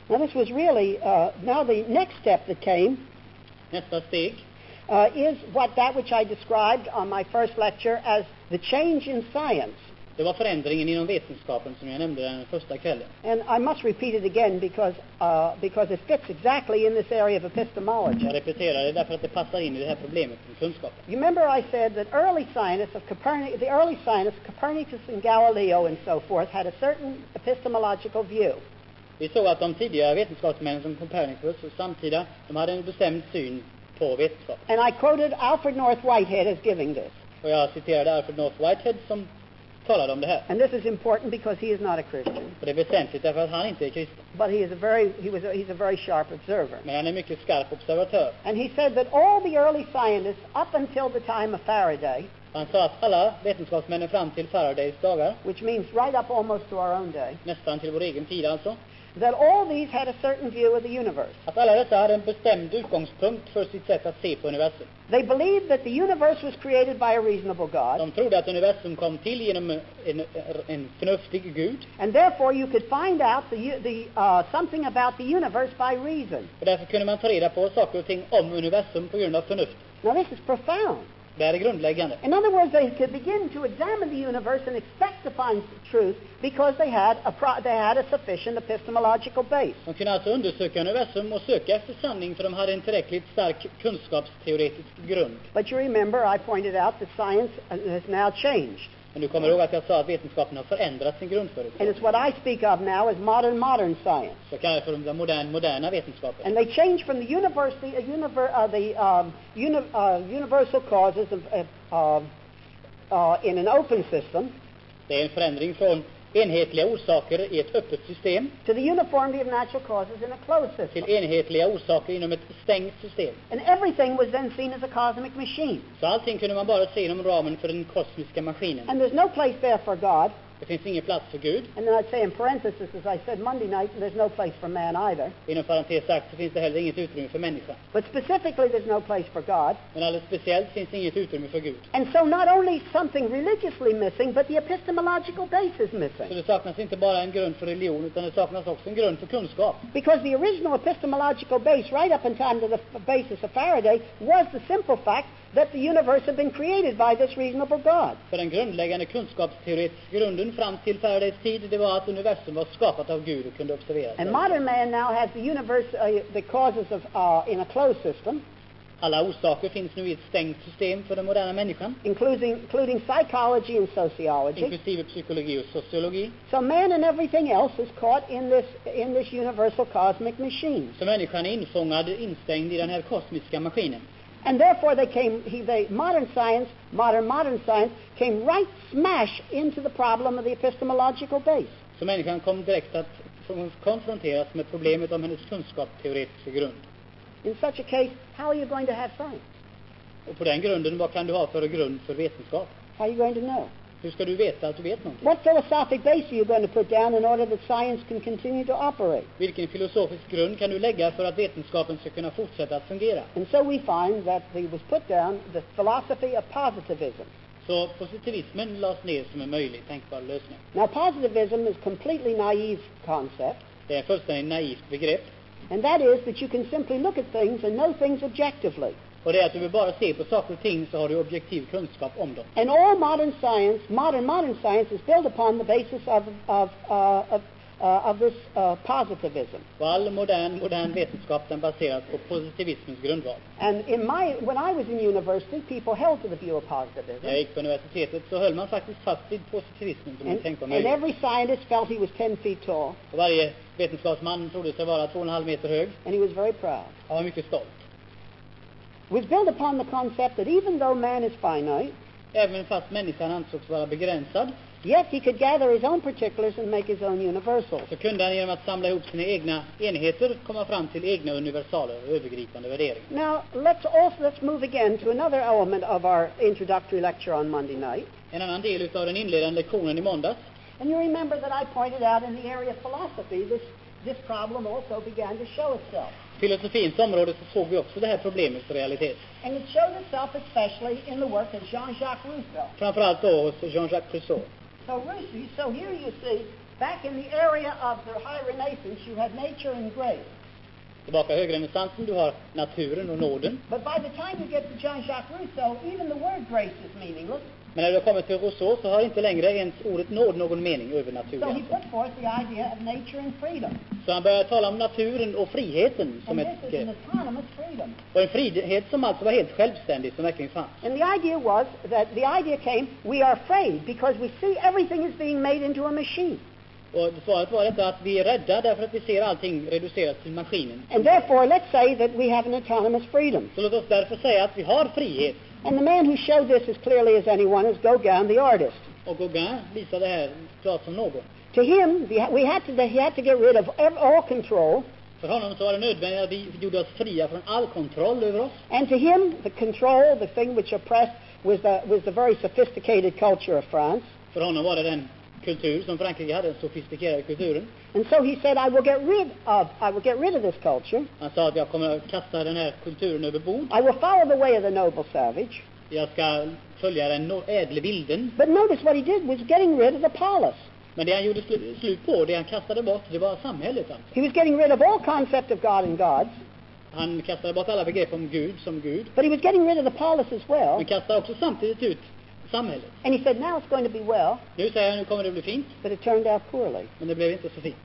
Speaker 2: Now this was really, uh, now the next step that came
Speaker 3: Nästa steg
Speaker 2: uh, is what that which I described on my first lecture as the change in science.
Speaker 3: Det var förändringen inom vetenskapen som jag nämnde den första kvällen.
Speaker 2: And I must repeat it again because, uh, because it fits exactly in this area of epistemology.
Speaker 3: Jag repeterar det därför att det passar in i det här problemet med kunskapen.
Speaker 2: You remember I said that early scientists of Copernic, the early scientists, Copernicus and Galileo and so forth, had a certain epistemological view.
Speaker 3: Vi såg att de tidigare vetenskapsmännen som Copernicus och samtida, de hade en bestämd syn på vetenskap.
Speaker 2: And I quoted Alfred North Whitehead as giving this.
Speaker 3: Och jag citerade Alfred North Whitehead som talade om det här.
Speaker 2: And this is important because he is not a Christian,
Speaker 3: Och det är väsentligt därför att han inte är kristen.
Speaker 2: but he is a very, he was a, he's a very sharp observer.
Speaker 3: Men han är en mycket skarp observatör.
Speaker 2: And he said that all the early scientists up until the time of Faraday,
Speaker 3: Han sa att alla vetenskapsmännen fram till Faradays dagar,
Speaker 2: which means right up almost to our own day,
Speaker 3: nästan till vår egen tid alltså,
Speaker 2: that all these had a certain view of the universe.
Speaker 3: Att alla dessa hade en bestämd utgångspunkt för sitt sätt att se på universum.
Speaker 2: They believed that the universe was created by a reasonable God,
Speaker 3: De trodde att universum kom till genom en, en förnuftig gud.
Speaker 2: and therefore you could find out the, u- the, uh, something about the universe by reason.
Speaker 3: Och därför kunde man ta reda på saker och ting om universum på grund av förnuft.
Speaker 2: Now, this is profound.
Speaker 3: Det här är grundläggande.
Speaker 2: In other words, they could begin to examine the universe and expect to find truth because they had a, pro- they had a sufficient epistemological base.
Speaker 3: De kunde alltså undersöka universum och söka efter sanning för de hade en tillräckligt stark kunskapsteoretisk grund.
Speaker 2: But you remember I pointed out that science uh, has now changed.
Speaker 3: Men du kommer ihåg att jag sa att vetenskapen har förändrat sin
Speaker 2: And
Speaker 3: grundförutsättning.
Speaker 2: it's what I speak of now as modern, modern science.
Speaker 3: Jag kallar det för den modern, moderna vetenskapen.
Speaker 2: And they change from the, universe, the, uh, univer, uh, the um, uni, uh, universal causes of, uh, uh, uh, in an open system
Speaker 3: Det är en förändring från enhetliga orsaker i ett öppet system
Speaker 2: to the uniformity of natural causes in a closed
Speaker 3: till
Speaker 2: system.
Speaker 3: enhetliga orsaker inom ett stängt system.
Speaker 2: And everything was then seen as a cosmic machine.
Speaker 3: Så allting kunde man bara se inom ramen för den kosmiska maskinen.
Speaker 2: And there's no place there for God.
Speaker 3: Det finns ingen plats för Gud.
Speaker 2: And then I'd say in parenthesis, as I said Monday night, there's no place for man either.
Speaker 3: Inom parentes sagt så finns det heller inget utrymme för människan.
Speaker 2: But specifically, there's no place for God.
Speaker 3: Men alldeles speciellt finns det inget utrymme för Gud.
Speaker 2: And so not only something religiously missing, but the epistemological base is
Speaker 3: Så
Speaker 2: missing.
Speaker 3: det saknas inte bara en grund för religion utan det saknas också en grund för kunskap.
Speaker 2: Because the original epistemological base, right up in time to the f- basis of Faraday, was the simple fact that the universe had been created by this reasonable God.
Speaker 3: För den grundläggande kunskapsteoretiska grunden fram till Faradays tid det var att universum var skapat av Gud och kunde observeras.
Speaker 2: And modern man now has the universe, uh, the causes of, uh, in a closed system,
Speaker 3: Alla orsaker finns nu i ett stängt system för den moderna människan,
Speaker 2: including, including psychology and sociology.
Speaker 3: inklusive psykologi och sociologi.
Speaker 2: So man and everything else is caught in this, in this universal cosmic machine.
Speaker 3: Så människan är infångad, instängd i den här kosmiska maskinen.
Speaker 2: And therefore, they came. He, they, modern science, modern modern science, came right smash into the problem of the epistemological base.
Speaker 3: Så människan kom direkt att konfronteras med problemet om hennes kunskapsteoretiska grund.
Speaker 2: In such a case, how are you going to have science?
Speaker 3: Och på den grunden, vad kan du ha för grund för vetenskap?
Speaker 2: How are you going to know?
Speaker 3: Hur ska du veta att du vet någonting?
Speaker 2: What philosophic base are you going to put down in order that science can continue to operate?
Speaker 3: Vilken filosofisk grund kan du lägga för att vetenskapen ska kunna fortsätta att fungera?
Speaker 2: And so we find that he was put down the philosophy of positivism.
Speaker 3: Så positivismen lades ner som en möjlig tänkbar lösning.
Speaker 2: Now, positivism is a completely naive concept,
Speaker 3: Det är ett fullständigt naivt begrepp.
Speaker 2: and that is that you can simply look at things and know things objectively.
Speaker 3: Och det är att du vill bara se på saker och ting så har du objektiv kunskap om dem.
Speaker 2: And all modern science, modern modern science, is built upon the basis of of uh, of, uh, of this uh, positivism.
Speaker 3: Och all modern, modern vetenskap den baseras på positivismens grundval.
Speaker 2: And in my when I was in university, people held to the view of
Speaker 3: När jag
Speaker 2: positivism,
Speaker 3: gick på universitetet så höll man faktiskt fast vid positivismen som en
Speaker 2: and,
Speaker 3: tänkbar
Speaker 2: and
Speaker 3: möjlighet.
Speaker 2: every scientist felt he was ten feet tall,
Speaker 3: Och varje vetenskapsman trodde sig vara två och en halv meter hög.
Speaker 2: and he was very proud.
Speaker 3: Han var mycket stolt.
Speaker 2: It was built upon the concept that even though man is finite,
Speaker 3: Även fast människan ansågs vara begränsad
Speaker 2: yet he could gather his own particulars and make his own universals.
Speaker 3: så kunde han genom att samla ihop sina egna enheter komma fram till egna universaler och övergripande värderingar.
Speaker 2: Now let's also let's move again to another element of our introductory lecture on Monday night.
Speaker 3: En annan del utav den inledande lektionen i måndags
Speaker 2: And you remember that I pointed out in the area of philosophy, this, this problem also began to show itself.
Speaker 3: filosofins område så såg vi också det här problemets realitet.
Speaker 2: And it showed itself especially in the work of Jean-Jacques Rousseau.
Speaker 3: Framförallt då hos Jean-Jacques Rousseau.
Speaker 2: So, Rousseau, so here you see, back in the area of the High Renaissance, you had nature and grace.
Speaker 3: Tillbaka i högrenässansen, du har naturen och nåden.
Speaker 2: But by the time you get to Jean-Jacques Rousseau, even the word grace is meaningless.
Speaker 3: Men när du har kommit till Rousseau så har inte längre ens ordet nåd någon mening
Speaker 2: So he
Speaker 3: övernaturligt.
Speaker 2: put forth the idea of nature and freedom.
Speaker 3: Så han börjar tala om naturen och friheten som
Speaker 2: And
Speaker 3: ett
Speaker 2: this is an
Speaker 3: begrepp.
Speaker 2: autonomous freedom.
Speaker 3: Och en frihet som alltså var helt självständig, som verkligen fanns.
Speaker 2: And the idea was that the idea came, we are afraid because we see everything is being made into a machine.
Speaker 3: Och svaret var detta att vi är rädda därför att vi ser allting reduceras till maskinen.
Speaker 2: And therefore, let's say that we have an autonomous freedom.
Speaker 3: Så låt oss därför säga att vi har frihet.
Speaker 2: And the man who showed this as clearly as anyone is Gauguin, the artist.
Speaker 3: Och Gauguin visar det här klart som någon.
Speaker 2: To him, the, we had to, he had to get rid of ev- all control,
Speaker 3: För honom så var det nödvändigt att vi gjorde oss fria från all kontroll över oss.
Speaker 2: and to him, the control, the thing which oppressed, was the, was the very sophisticated culture of France.
Speaker 3: För honom var det den kultur som Frankrike hade, den sofistikerade kulturen.
Speaker 2: And so he said, I will get rid of, I will get rid of this culture.
Speaker 3: Han sa att jag kommer att kasta den här kulturen över bord.
Speaker 2: I will follow the way of the noble savage.
Speaker 3: Jag ska följa den no- ädle bilden.
Speaker 2: But notice what he did was getting rid of the polis.
Speaker 3: Men det han gjorde slu- slut på, det han kastade bort, det var samhället alltså.
Speaker 2: He was getting rid of all concept of God and gods,
Speaker 3: Han kastade bort alla begrepp om Gud som Gud.
Speaker 2: but he was getting rid of the polis as well.
Speaker 3: Men kastade också samtidigt ut samhället.
Speaker 2: And he said, now it's going to be well,
Speaker 3: Nu säger han, nu kommer det bli fint.
Speaker 2: but it turned out poorly.
Speaker 3: Men det blev inte så fint.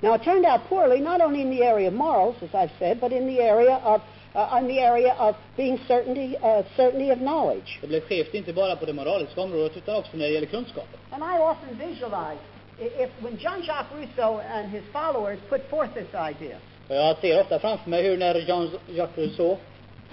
Speaker 2: Now it turned out poorly not only in the area of morals, as I've said, but in the area of uh, on the area of being certainty uh, certainty of knowledge.
Speaker 3: Det blev skevt inte bara på det moraliska området utan också när det gäller kunskap.
Speaker 2: And I often visualize i- if when Jean-Jacques Rousseau and his followers put forth this idea,
Speaker 3: Och jag ser ofta framför mig hur när Jean-Jacques Rousseau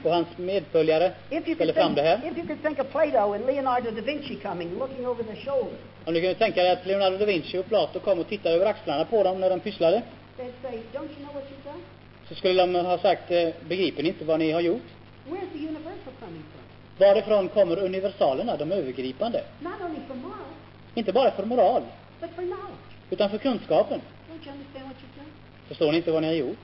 Speaker 3: och hans medföljare
Speaker 2: if you
Speaker 3: ställer
Speaker 2: could think,
Speaker 3: fram det här.
Speaker 2: if you could think of Plato and Leonardo da Vinci coming, looking over their shoulder,
Speaker 3: Om du kunde tänka dig att Leonardo da Vinci och Plato kom och tittade över axlarna på dem när de pysslade
Speaker 2: they'd say, "Don't you know what you've done?
Speaker 3: så skulle de ha sagt eh, begriper ni inte vad ni har gjort?
Speaker 2: Where's the universal coming from?
Speaker 3: Varifrån kommer universalerna, de övergripande?
Speaker 2: Not only for morals,
Speaker 3: Inte bara för moral,
Speaker 2: but for knowledge.
Speaker 3: utan för kunskapen.
Speaker 2: Don't you understand what you've done?"
Speaker 3: Förstår ni inte vad ni har gjort?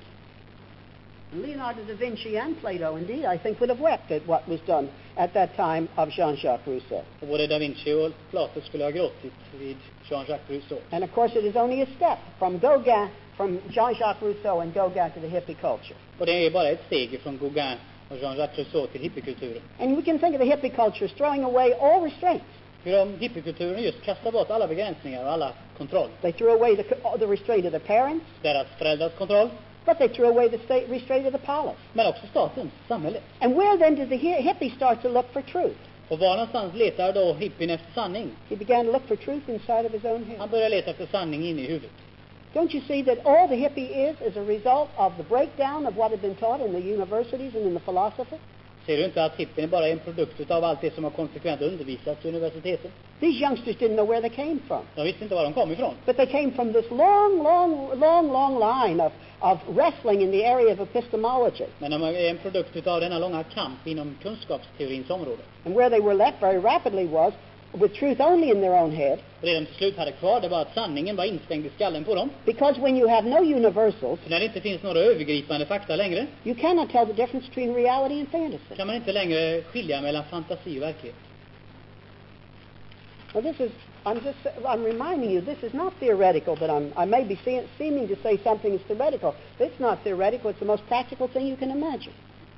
Speaker 2: And Leonardo da Vinci and Plato, indeed, I think, would have wept at what was done at that time of Jean-Jacques Rousseau.
Speaker 3: Och både da Vinci och Plato skulle ha gråtit vid Jean-Jacques Rousseau.
Speaker 2: And of course, it is only a step from Gauguin, from Jean-Jacques Rousseau and Gauguin to the hippie culture.
Speaker 3: Och det är bara ett steg från Gauguin och Jean-Jacques Rousseau till hippiekulturen.
Speaker 2: And we can think of the hippie culture as throwing away all restraints.
Speaker 3: Hur de hippiekulturen just kastar bort alla begränsningar och alla kontroll.
Speaker 2: They threw away the, all the restraint of their parents,
Speaker 3: Deras föräldrars kontroll,
Speaker 2: but they threw away the state restraint of the polis.
Speaker 3: men också statens, samhället.
Speaker 2: And where then did the hi- hippie start to look for truth?
Speaker 3: Och var någonstans letar då hippien efter sanning?
Speaker 2: He began to look for truth inside of his own head.
Speaker 3: Han börjar leta efter sanning inne i huvudet.
Speaker 2: Don't you see that all the hippie is is a result of the breakdown of what had been taught in the universities and in the philosophy?
Speaker 3: Ser du inte att hippien bara är en produkt utav allt det som har konsekvent undervisats i universiteten?
Speaker 2: These youngsters didn't know where they came from.
Speaker 3: De visste inte var de kom ifrån.
Speaker 2: But they came from this long, long, long, long line of, of wrestling in the area of epistemology.
Speaker 3: Men de är en produkt utav denna långa kamp inom kunskapsteorins område.
Speaker 2: And where they were left very rapidly was with truth only in their own head.
Speaker 3: Och det de till slut hade kvar, det var att sanningen var instängd i skallen på dem.
Speaker 2: Because when you have no universals,
Speaker 3: För när det inte finns några övergripande fakta längre,
Speaker 2: you cannot tell the difference between reality and fantasy.
Speaker 3: kan man inte längre skilja mellan fantasi och verklighet.
Speaker 2: Well, this is, I'm just, I'm reminding you, this is not theoretical, but I'm, I may be se- seeming to say something is theoretical. It's not theoretical, it's the most practical thing you can imagine.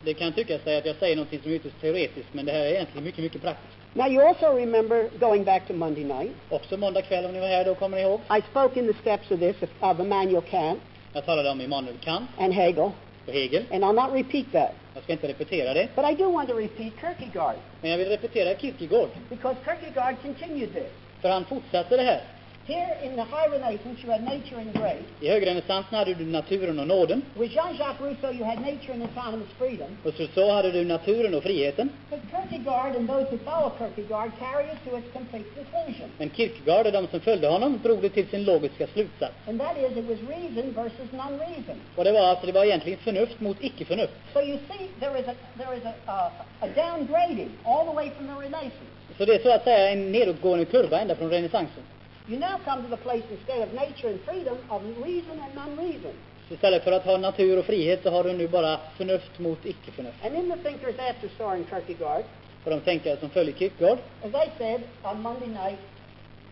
Speaker 3: Det kan tyckas sig att jag säger någonting som är ytterst teoretiskt, men det här är egentligen mycket, mycket praktiskt.
Speaker 2: Now, you also remember, going back to Monday night,
Speaker 3: Också måndag kväll om ni var här, då kommer ni ihåg.
Speaker 2: I spoke in the steps of this, of, of Immanuel Kant
Speaker 3: Jag talade om Immanuel Kant
Speaker 2: and Hegel,
Speaker 3: och Hegel.
Speaker 2: and I'll not repeat that.
Speaker 3: Jag ska inte repetera det,
Speaker 2: But I do want to repeat Kierkegaard,
Speaker 3: men jag vill repetera Kierkegaard.
Speaker 2: because Kierkegaard continued this.
Speaker 3: För han fortsatte det här.
Speaker 2: Here in the High Renaissance, you had nature and grace.
Speaker 3: I högrenässansen hade du naturen och nåden.
Speaker 2: With Jean-Jacques Rousseau, you had nature and autonomous freedom.
Speaker 3: Och Rousseau hade du naturen och friheten.
Speaker 2: But Kierkegaard and those who follow Kierkegaard carry it to its complete conclusion.
Speaker 3: Men Kierkegaard och de som följde honom drog det till sin logiska slutsats.
Speaker 2: And that is, it was reason versus non-reason.
Speaker 3: Och det var att det var egentligen förnuft mot icke-förnuft.
Speaker 2: So you see, there is a there is a, uh, a downgrading all the way from the Renaissance.
Speaker 3: Så det är så att säga en nedåtgående kurva ända från renässansen.
Speaker 2: You now come to the place instead of nature and freedom of reason and non-reason.
Speaker 3: Så istället för att ha natur och frihet så har du nu bara förnuft mot icke-förnuft.
Speaker 2: And in the thinkers after Soren Kierkegaard,
Speaker 3: Och de tänkare som följer Kierkegaard,
Speaker 2: as I said on Monday night,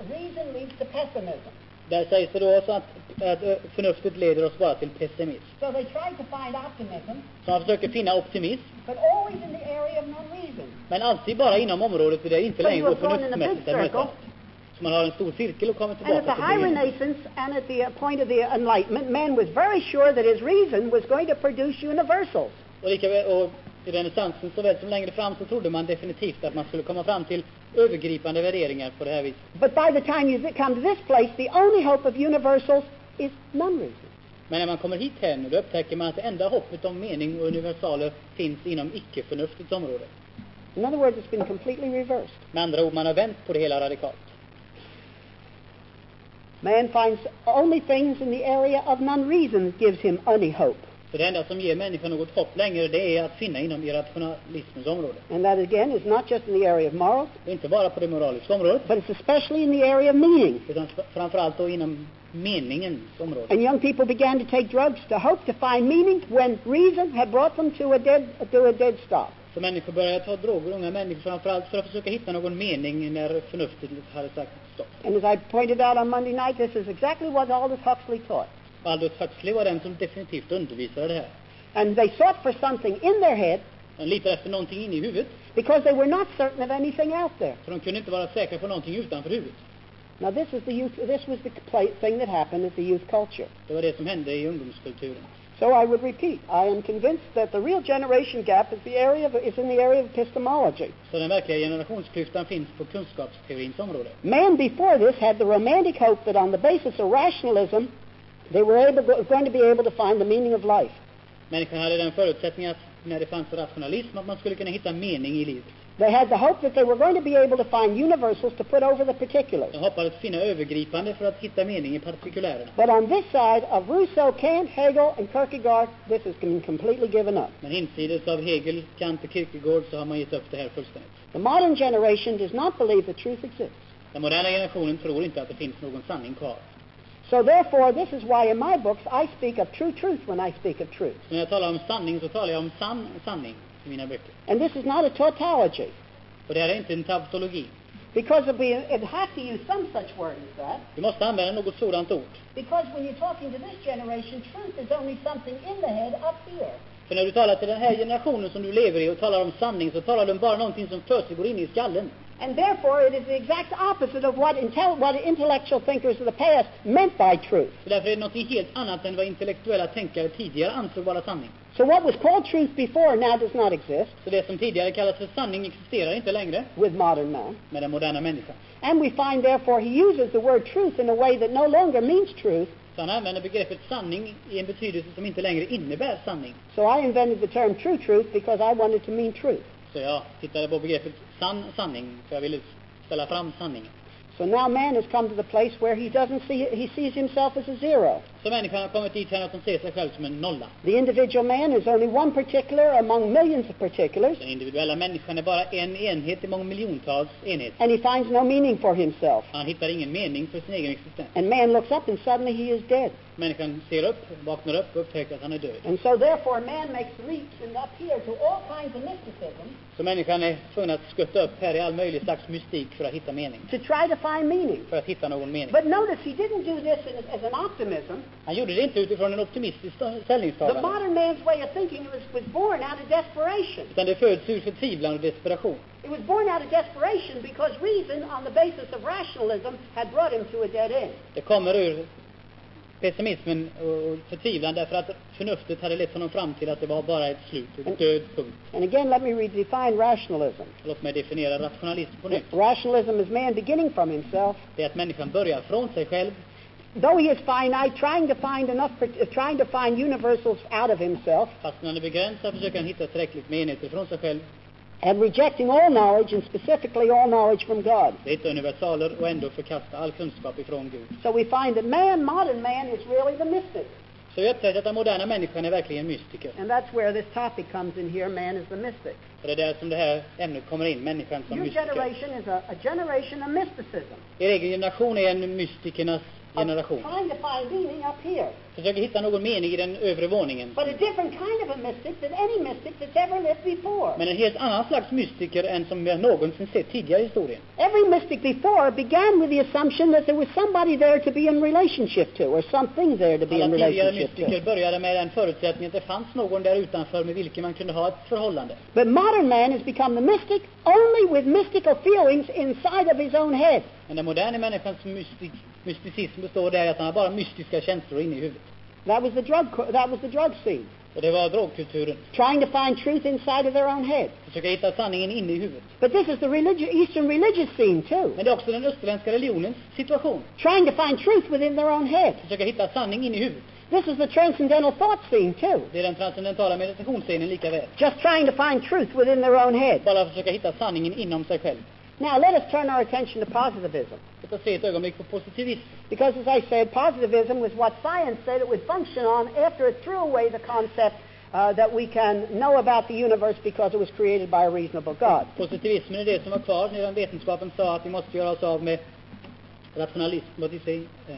Speaker 2: reason leads to pessimism.
Speaker 3: där sägs det då också att, att ö, förnuftet leder oss bara till pessimism.
Speaker 2: So they tried to find optimism,
Speaker 3: Så man försöker finna optimism,
Speaker 2: but always in the area of non-reason.
Speaker 3: men alltid bara inom området där det inte
Speaker 2: But
Speaker 3: längre
Speaker 2: you
Speaker 3: går
Speaker 2: have gone in a
Speaker 3: förnuftsmässigt
Speaker 2: big
Speaker 3: att
Speaker 2: circle.
Speaker 3: mötas. Så man har en stor cirkel och kommer
Speaker 2: And at the
Speaker 3: tillbaka
Speaker 2: High
Speaker 3: till det.
Speaker 2: Renaissance and at the uh, point of the Enlightenment, man was very sure that his reason was going to produce universals.
Speaker 3: Och, lika väl, och i renässansen såväl som längre fram så trodde man definitivt att man skulle komma fram till övergripande värderingar på det här viset.
Speaker 2: But by the time you th- come to this place, the only hope of universals is non-reason.
Speaker 3: Men när man kommer hit här nu, då upptäcker man att det enda hoppet om mening och universaler finns inom icke-förnuftets område.
Speaker 2: In other words, it's been completely reversed.
Speaker 3: Med andra ord, man har vänt på det hela radikalt.
Speaker 2: Man finds only things in the area of non-reason that gives him any hope.
Speaker 3: Så Så det enda som ger människan något hopp längre, det är att finna inom irrationalismens område.
Speaker 2: And that again is not just in the area of morals,
Speaker 3: Och inte bara på det moraliska området,
Speaker 2: but it's especially in the area of meaning.
Speaker 3: utan sp- framförallt då inom meningens område.
Speaker 2: And young people began to take drugs to hope to find meaning when reason had brought them to a dead, to a dead stop.
Speaker 3: Så människor började ta droger, unga människor framförallt, för att försöka hitta någon mening när förnuftet hade sagt stopp.
Speaker 2: And as I pointed out on Monday night, this is exactly what Aldous Huxley taught.
Speaker 3: Aldous Huxley var den som definitivt undervisade det här.
Speaker 2: And they sought for something in their head
Speaker 3: De letade efter någonting inne i huvudet,
Speaker 2: because they were not certain of anything out there.
Speaker 3: för de kunde inte vara säkra på någonting utanför huvudet.
Speaker 2: Now this is the youth, this was the pla thing that happened at the youth culture.
Speaker 3: Det var det som hände i ungdomskulturen.
Speaker 2: So I would repeat, I am convinced that the real generation gap is the area of, is in the area of epistemology.
Speaker 3: Så den verkliga generationsklyftan finns på kunskapsteorins område.
Speaker 2: Man before this had the romantic hope that on the basis of rationalism, they were able, going to be able to find the meaning of life.
Speaker 3: Människan hade den förutsättningen att när det fanns rationalism att man skulle kunna hitta mening i livet.
Speaker 2: They had the hope that they were going to be able to find universals to put over the particulars.
Speaker 3: De hoppades finna övergripande för att hitta mening i partikulärerna.
Speaker 2: But on this side of Rousseau, Kant, Hegel, and Kierkegaard, this has been completely given up.
Speaker 3: Men insides av Hegel, Kant och Kierkegaard så har man gett upp det här fullständigt.
Speaker 2: The modern generation does not believe that truth exists.
Speaker 3: Den moderna generationen tror inte att det finns någon sanning kvar.
Speaker 2: So therefore, this is why in my books I speak of true truth when I speak of truth.
Speaker 3: Så när jag talar om sanning så talar jag om sann sanning i mina böcker.
Speaker 2: And this is not a tautology,
Speaker 3: Och det här är inte en tautologi.
Speaker 2: because if we would have to use some such word as that,
Speaker 3: Vi måste använda något sådant ord.
Speaker 2: because when you're talking to this generation, truth is only something in the head up here.
Speaker 3: För när du talar till den här generationen som du lever i och talar om sanning så talar du om bara någonting som försiggår inne i skallen.
Speaker 2: And therefore, it is the exact opposite of what, intel- what intellectual thinkers of the past meant by truth.
Speaker 3: Så därför är det något helt annat än vad intellektuella tänkare tidigare ansåg vara sanning.
Speaker 2: So what was called truth before now does not exist
Speaker 3: Så det som tidigare kallades för sanning existerar inte längre
Speaker 2: with modern man.
Speaker 3: med den moderna människan.
Speaker 2: And we find, therefore, he uses the word truth in a way that no longer means truth.
Speaker 3: Så han använder begreppet sanning i en betydelse som inte längre innebär sanning.
Speaker 2: So I invented the term true truth because I wanted to mean truth.
Speaker 3: Så jag tittade på begreppet sann sanning, för jag ville ställa fram sanningen.
Speaker 2: So now man has come to the place where he doesn't see, he sees himself as a zero.
Speaker 3: Så människan har kommit dit här att de ser sig själv som en nolla.
Speaker 2: The individual man is only one particular among millions of particulars,
Speaker 3: Den individuella människan är bara en enhet i mångmiljontals enheter.
Speaker 2: and he finds no meaning for himself.
Speaker 3: Han hittar ingen mening för sin egen existens.
Speaker 2: And man looks up and suddenly he is dead.
Speaker 3: Människan ser upp, vaknar upp och upptäcker att han är död.
Speaker 2: And so therefore man makes leaps and up here to all kinds of mysticism
Speaker 3: Så människan är tvungen att skutta upp här i all möjlig slags mystik för att hitta mening.
Speaker 2: to try to find meaning.
Speaker 3: För att hitta någon mening.
Speaker 2: But notice he didn't do this in, as an optimism.
Speaker 3: Han gjorde det inte utifrån en optimistisk sta-
Speaker 2: The
Speaker 3: ställningstagande.
Speaker 2: modern man's way of thinking was, was born out of desperation.
Speaker 3: Utan det föds ur förtvivlan och desperation.
Speaker 2: It was born out of desperation because reason, on the basis of rationalism, had brought him to a dead end.
Speaker 3: Det kommer ur pessimismen och förtvivlan därför att förnuftet hade lett honom fram till att det var bara ett slut, ett död punkt.
Speaker 2: And again, let me redefine rationalism.
Speaker 3: Låt mig definiera rationalism på nytt.
Speaker 2: Rationalism is man beginning from himself,
Speaker 3: Det är att människan börjar från sig själv,
Speaker 2: though he is finite, trying to find enough, part- trying to find universals out of himself,
Speaker 3: fast när han är begränsad försöker han hitta tillräckligt med enheter från sig själv.
Speaker 2: and rejecting all knowledge, and specifically all knowledge from God.
Speaker 3: Det hittar universaler och ändå förkasta all kunskap ifrån Gud.
Speaker 2: So we find that man, modern man, is really the mystic.
Speaker 3: Så vi upptäckte att den moderna människan är verkligen mystiker.
Speaker 2: And that's where this topic comes in here, man is the mystic.
Speaker 3: Och det är där som det här ämnet kommer in, människan som
Speaker 2: Your
Speaker 3: mystiker.
Speaker 2: generation is a, a generation of mysticism.
Speaker 3: Er egen generation är en mystikernas
Speaker 2: of
Speaker 3: generation.
Speaker 2: Trying to find meaning up here.
Speaker 3: Försöker hitta någon mening i den övre våningen.
Speaker 2: But a different kind of a mystic than any mystic that's ever lived before.
Speaker 3: Men en helt annan slags mystiker än som jag någonsin sett tidigare i historien.
Speaker 2: Every mystic before began with the assumption that there was somebody there to be in relationship to, or something there to be
Speaker 3: Alla
Speaker 2: in
Speaker 3: tidigare
Speaker 2: relationship
Speaker 3: mystiker
Speaker 2: to.
Speaker 3: började med den förutsättningen att det fanns någon där utanför med vilken man kunde ha ett förhållande.
Speaker 2: But modern man has become the mystic only with mystical feelings inside of his own head.
Speaker 3: Men den moderna människans mystik, mysticism består där i att han har bara mystiska känslor inne i huvudet.
Speaker 2: That was the drug. co- That was the drug scene.
Speaker 3: Och det var drogkulturen.
Speaker 2: Trying to find truth inside of their own head.
Speaker 3: Försöka hitta sanningen inne i huvudet.
Speaker 2: But this is the religi- Eastern religious scene too.
Speaker 3: Men det är också den österländska religionens situation.
Speaker 2: Trying to find truth within their own head.
Speaker 3: Försöka hitta sanning inne i huvudet.
Speaker 2: This is the transcendental thought scene too.
Speaker 3: Det är den transcendentala meditationsscenen lika väl.
Speaker 2: Just trying to find truth within their own head.
Speaker 3: Bara försöka hitta sanningen inom sig själv.
Speaker 2: Now let us turn our attention to positivism.
Speaker 3: Låt oss se ett ögonblick på positivism.
Speaker 2: Because as I said, positivism was what science said it would function on after it threw away the concept uh, that we can know about the universe because it was created by a reasonable God.
Speaker 3: Positivismen är det som var kvar medan vetenskapen sa att vi måste göra oss av med rationalism, vad de säger. eh,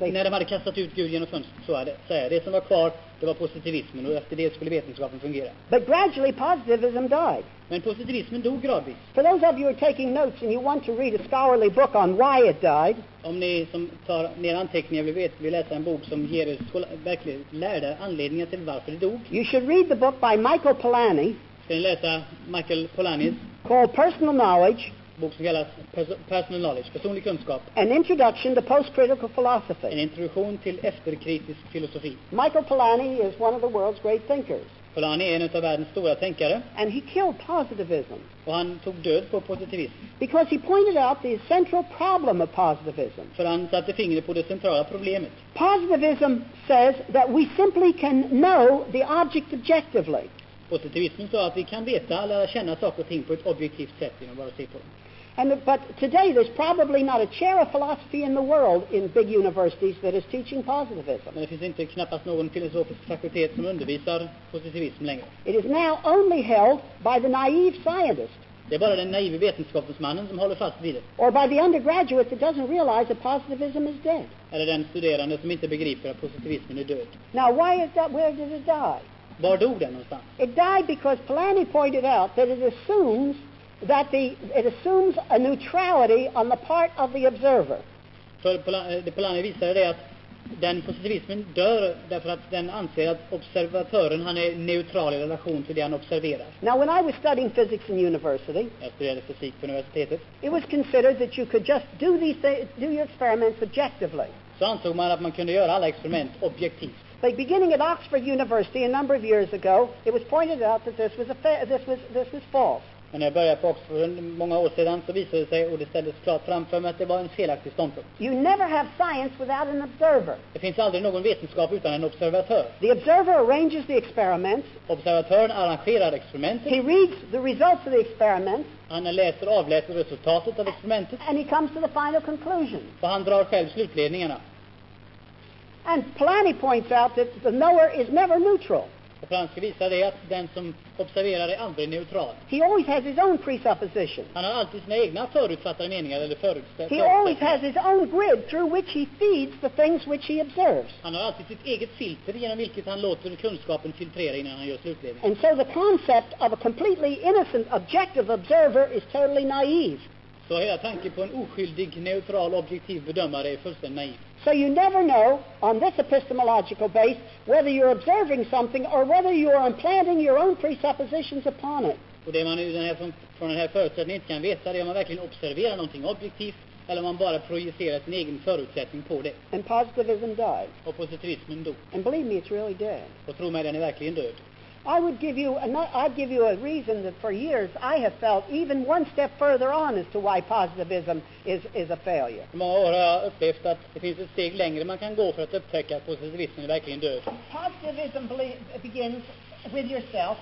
Speaker 2: They-
Speaker 3: När de hade kastat ut Gud genom fönstret, så är det. Så är det. det som var kvar, det var positivismen och efter det skulle vetenskapen fungera.
Speaker 2: But gradually positivism died.
Speaker 3: Men positivismen dog gradvis.
Speaker 2: For those of you who are taking notes and you want to read a scholarly book on why it died,
Speaker 3: Om ni som tar ner anteckningar vill, vet, vill läsa en bok som ger er skola- verkligen lärda anledningar till varför det dog,
Speaker 2: you should read the book by Michael Polanyi
Speaker 3: ska ni läsa Michael Polany's
Speaker 2: called Personal Knowledge,
Speaker 3: bok som kallas Perso- Personal Knowledge, personlig kunskap,
Speaker 2: An Introduction to Postcritical
Speaker 3: en
Speaker 2: Philosophy.
Speaker 3: introduktion till efterkritisk filosofi.
Speaker 2: Michael Polanyi is one of the world's great thinkers,
Speaker 3: Polanyi är en av världens stora tänkare
Speaker 2: and he killed positivism
Speaker 3: och han tog död på positivism
Speaker 2: because he pointed out the central problem of positivism.
Speaker 3: för han satte fingret på det centrala problemet.
Speaker 2: Positivism says that we simply can know the object objectively.
Speaker 3: Positivismen sa att vi kan veta, lära känna saker och ting på ett objektivt sätt genom att bara se på dem.
Speaker 2: And, but today there's probably not a chair of philosophy in the world in big universities that is teaching positivism.
Speaker 3: Men det finns inte knappast någon filosofisk fakultet som undervisar positivism längre.
Speaker 2: It is now only held by the naive scientist
Speaker 3: Det är bara den naive vetenskapsmannen som håller fast vid det.
Speaker 2: or by the undergraduate that doesn't realize that positivism is dead.
Speaker 3: Eller den studerande som inte begriper att positivismen är död.
Speaker 2: Now, why is that? Where did it die?
Speaker 3: Var dog den någonstans?
Speaker 2: It died because Polanyi pointed out that it assumes that the it assumes a neutrality on the part of the observer.
Speaker 3: För Polan- eh, det Polanyi visade det att den positivismen dör därför att den anser att observatören han är neutral i relation till det han observerar.
Speaker 2: Now, when I was studying physics in university,
Speaker 3: Jag studerade fysik på universitetet.
Speaker 2: it was considered that you could just do these th- do your experiments objectively.
Speaker 3: Så ansåg man att man kunde göra alla experiment objektivt.
Speaker 2: But beginning at Oxford University a number of years ago, it was pointed out that this was a fa- this was this was false.
Speaker 3: Men när jag började på Oxford för många år sedan så visade det sig, och det ställdes klart framför mig, att det var en felaktig ståndpunkt.
Speaker 2: You never have science without an observer.
Speaker 3: Det finns aldrig någon vetenskap utan en observatör.
Speaker 2: The observer arranges the experiments.
Speaker 3: Observatören arrangerar experimentet,
Speaker 2: He reads the results of the experiments,
Speaker 3: han läser och avläser resultatet av experimentet
Speaker 2: and he comes to the final conclusion.
Speaker 3: och han drar själv slutledningarna.
Speaker 2: And Polanyi points out that the knower is never neutral.
Speaker 3: Och för han ska visa det att den som observerar är aldrig neutral.
Speaker 2: He always has his own presupposition.
Speaker 3: Han har alltid sina egna förutfattade meningar eller
Speaker 2: He always has
Speaker 3: förutsättningar.
Speaker 2: his own grid through which he feeds the things which he observes.
Speaker 3: Han har alltid sitt eget filter genom vilket han låter kunskapen filtrera innan han gör slutledningen.
Speaker 2: And so the concept of a completely innocent objective observer is totally naive.
Speaker 3: Så hela tanken på en oskyldig, neutral, objektiv bedömare är fullständigt naiv.
Speaker 2: So you never know, on this epistemological base, whether you're observing something or whether you are implanting your own presuppositions upon it.
Speaker 3: Och det man ur den här, från, från den här förutsättningen inte kan veta det är om man verkligen observerar någonting objektivt eller om man bara projicerar sin egen förutsättning på det.
Speaker 2: And positivism died.
Speaker 3: Och positivismen dog.
Speaker 2: And believe me, it's really dead.
Speaker 3: Och tro mig, den är verkligen död.
Speaker 2: I would give you a, I'd give you a reason that for years I have felt even one step further on as to why positivism is, is a failure.
Speaker 3: I många år har jag upplevt att det finns ett steg längre man kan gå för att upptäcka att positivismen är verkligen död.
Speaker 2: Positivism belie- begins with yourself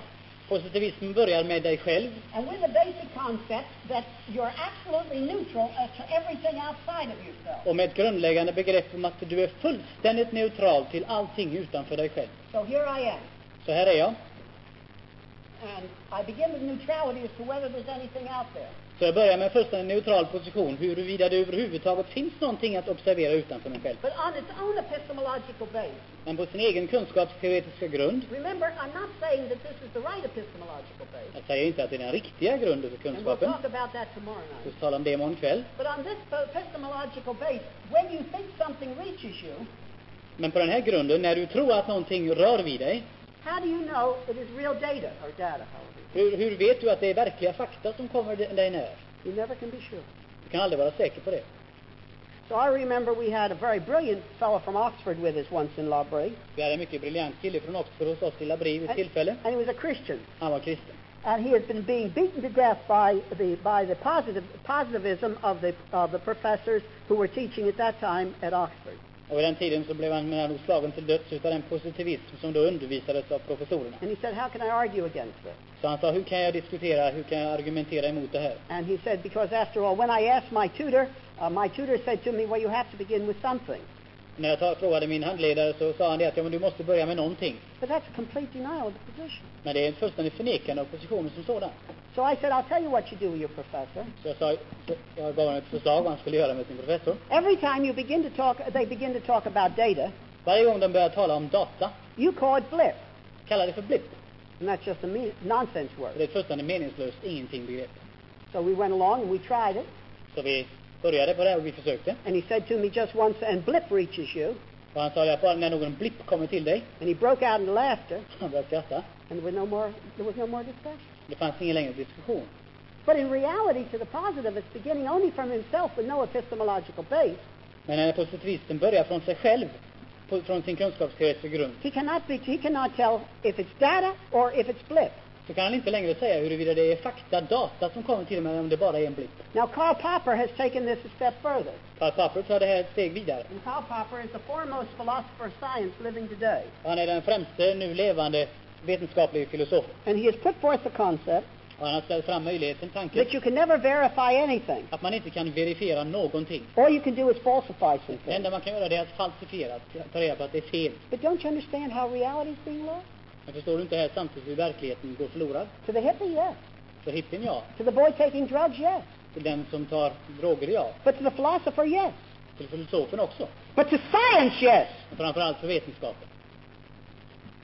Speaker 3: Positivismen börjar med dig själv
Speaker 2: and with the basic concept that you're absolutely neutral as to everything outside of yourself.
Speaker 3: och med ett grundläggande begrepp om att du är fullständigt neutral till allting utanför dig själv.
Speaker 2: So here I am.
Speaker 3: Så här är jag.
Speaker 2: And I begin with neutrality as to whether there's anything out there.
Speaker 3: Så jag börjar med en fullständigt neutral position, huruvida det överhuvudtaget finns någonting att observera utanför mig själv.
Speaker 2: But on its own epistemological base,
Speaker 3: Men på sin egen kunskapsteoretiska grund,
Speaker 2: remember, I'm not saying that this is the right epistemological base.
Speaker 3: jag säger inte att det är den riktiga grunden
Speaker 2: And
Speaker 3: för
Speaker 2: we'll
Speaker 3: kunskapen,
Speaker 2: talk about that tomorrow night.
Speaker 3: vi ska tala om det imorgon kväll,
Speaker 2: But on this epistemological base, when you think something reaches you,
Speaker 3: men på den här grunden, när du tror att någonting rör vid dig,
Speaker 2: how do you know it is real data or data, however?
Speaker 3: hur, hur vet du att det är verkliga fakta som kommer di- dig nära?
Speaker 2: You never can be sure.
Speaker 3: Du kan aldrig vara säker på det.
Speaker 2: So I remember we had a very brilliant fellow from Oxford with us once in La Brie,
Speaker 3: Vi hade en mycket briljant kille från Oxford hos oss i Labri vid ett tillfälle.
Speaker 2: and he was a Christian,
Speaker 3: Han var kristen.
Speaker 2: and he had been being beaten to death by the by the positive positivism of the of the professors who were teaching at that time at Oxford.
Speaker 3: Och vid den tiden så blev han mellan nog slagen till döds utav den positivism som då undervisades av professorerna.
Speaker 2: And he said, How can I argue against this?
Speaker 3: Så han sa, hur kan jag diskutera, hur kan jag argumentera emot det här?
Speaker 2: And he said, Because after all, when I asked my tutor, uh, my tutor said to me, Well, you have to begin with something.
Speaker 3: När jag ta- frågade min handledare så sa han det att ja, men du måste börja med någonting.
Speaker 2: But that's a complete denial of the position.
Speaker 3: Men det är ett fullständigt förnekande av positionen som sådan.
Speaker 2: So I said, I'll tell you what you do with your professor.
Speaker 3: Så jag, sa, så jag gav honom ett förslag vad han skulle göra med sin professor.
Speaker 2: Every time you begin to talk, they begin to talk about data,
Speaker 3: Varje gång de började tala om data,
Speaker 2: you call it blip.
Speaker 3: kalla det för blipp.
Speaker 2: And that's just a me- nonsense
Speaker 3: Och
Speaker 2: word.
Speaker 3: det är ett fullständigt meningslöst ingenting-begrepp.
Speaker 2: So we went along and we tried it.
Speaker 3: Så vi började på det här och vi försökte.
Speaker 2: And he said to me just once, and blip reaches you.
Speaker 3: Och han sa att bara när någon blipp kommer till dig,
Speaker 2: And he broke out into laughter,
Speaker 3: han började skratta.
Speaker 2: and there was no more, there was no more discussion.
Speaker 3: Det fanns ingen längre diskussion.
Speaker 2: But in reality, to the positive, it's beginning only from himself with no epistemological base.
Speaker 3: Men när positivisten börjar från sig själv, på- från sin kunskapsteoretiska grund,
Speaker 2: He cannot, be, he cannot tell if it's data or if it's blip.
Speaker 3: så kan han inte längre säga huruvida det är fakta, data som kommer till honom eller om det bara är en blipp.
Speaker 2: Now, Karl Popper has taken this a step further.
Speaker 3: Karl Popper tar det här ett steg vidare.
Speaker 2: And Karl Popper is the foremost philosopher of science living today.
Speaker 3: Han är den främste nu levande vetenskapliga filosofen.
Speaker 2: And he has put forth the concept
Speaker 3: Och han har ställt fram möjligheten, tanken,
Speaker 2: that you can never verify anything.
Speaker 3: att man inte kan verifiera någonting.
Speaker 2: All you can do is falsify
Speaker 3: Det
Speaker 2: something.
Speaker 3: enda man kan göra det är att falsifiera, att ta reda på att det är fel.
Speaker 2: But don't you understand how reality is being lost?
Speaker 3: Men förstår du inte här samtidigt hur verkligheten går förlorad?
Speaker 2: To the hippie, yes.
Speaker 3: För hippen ja,
Speaker 2: To the boy taking drugs, yes.
Speaker 3: till den som tar droger ja,
Speaker 2: But to the philosopher, yes.
Speaker 3: till filosofen också.
Speaker 2: But to science, yes.
Speaker 3: Men framförallt för vetenskapen.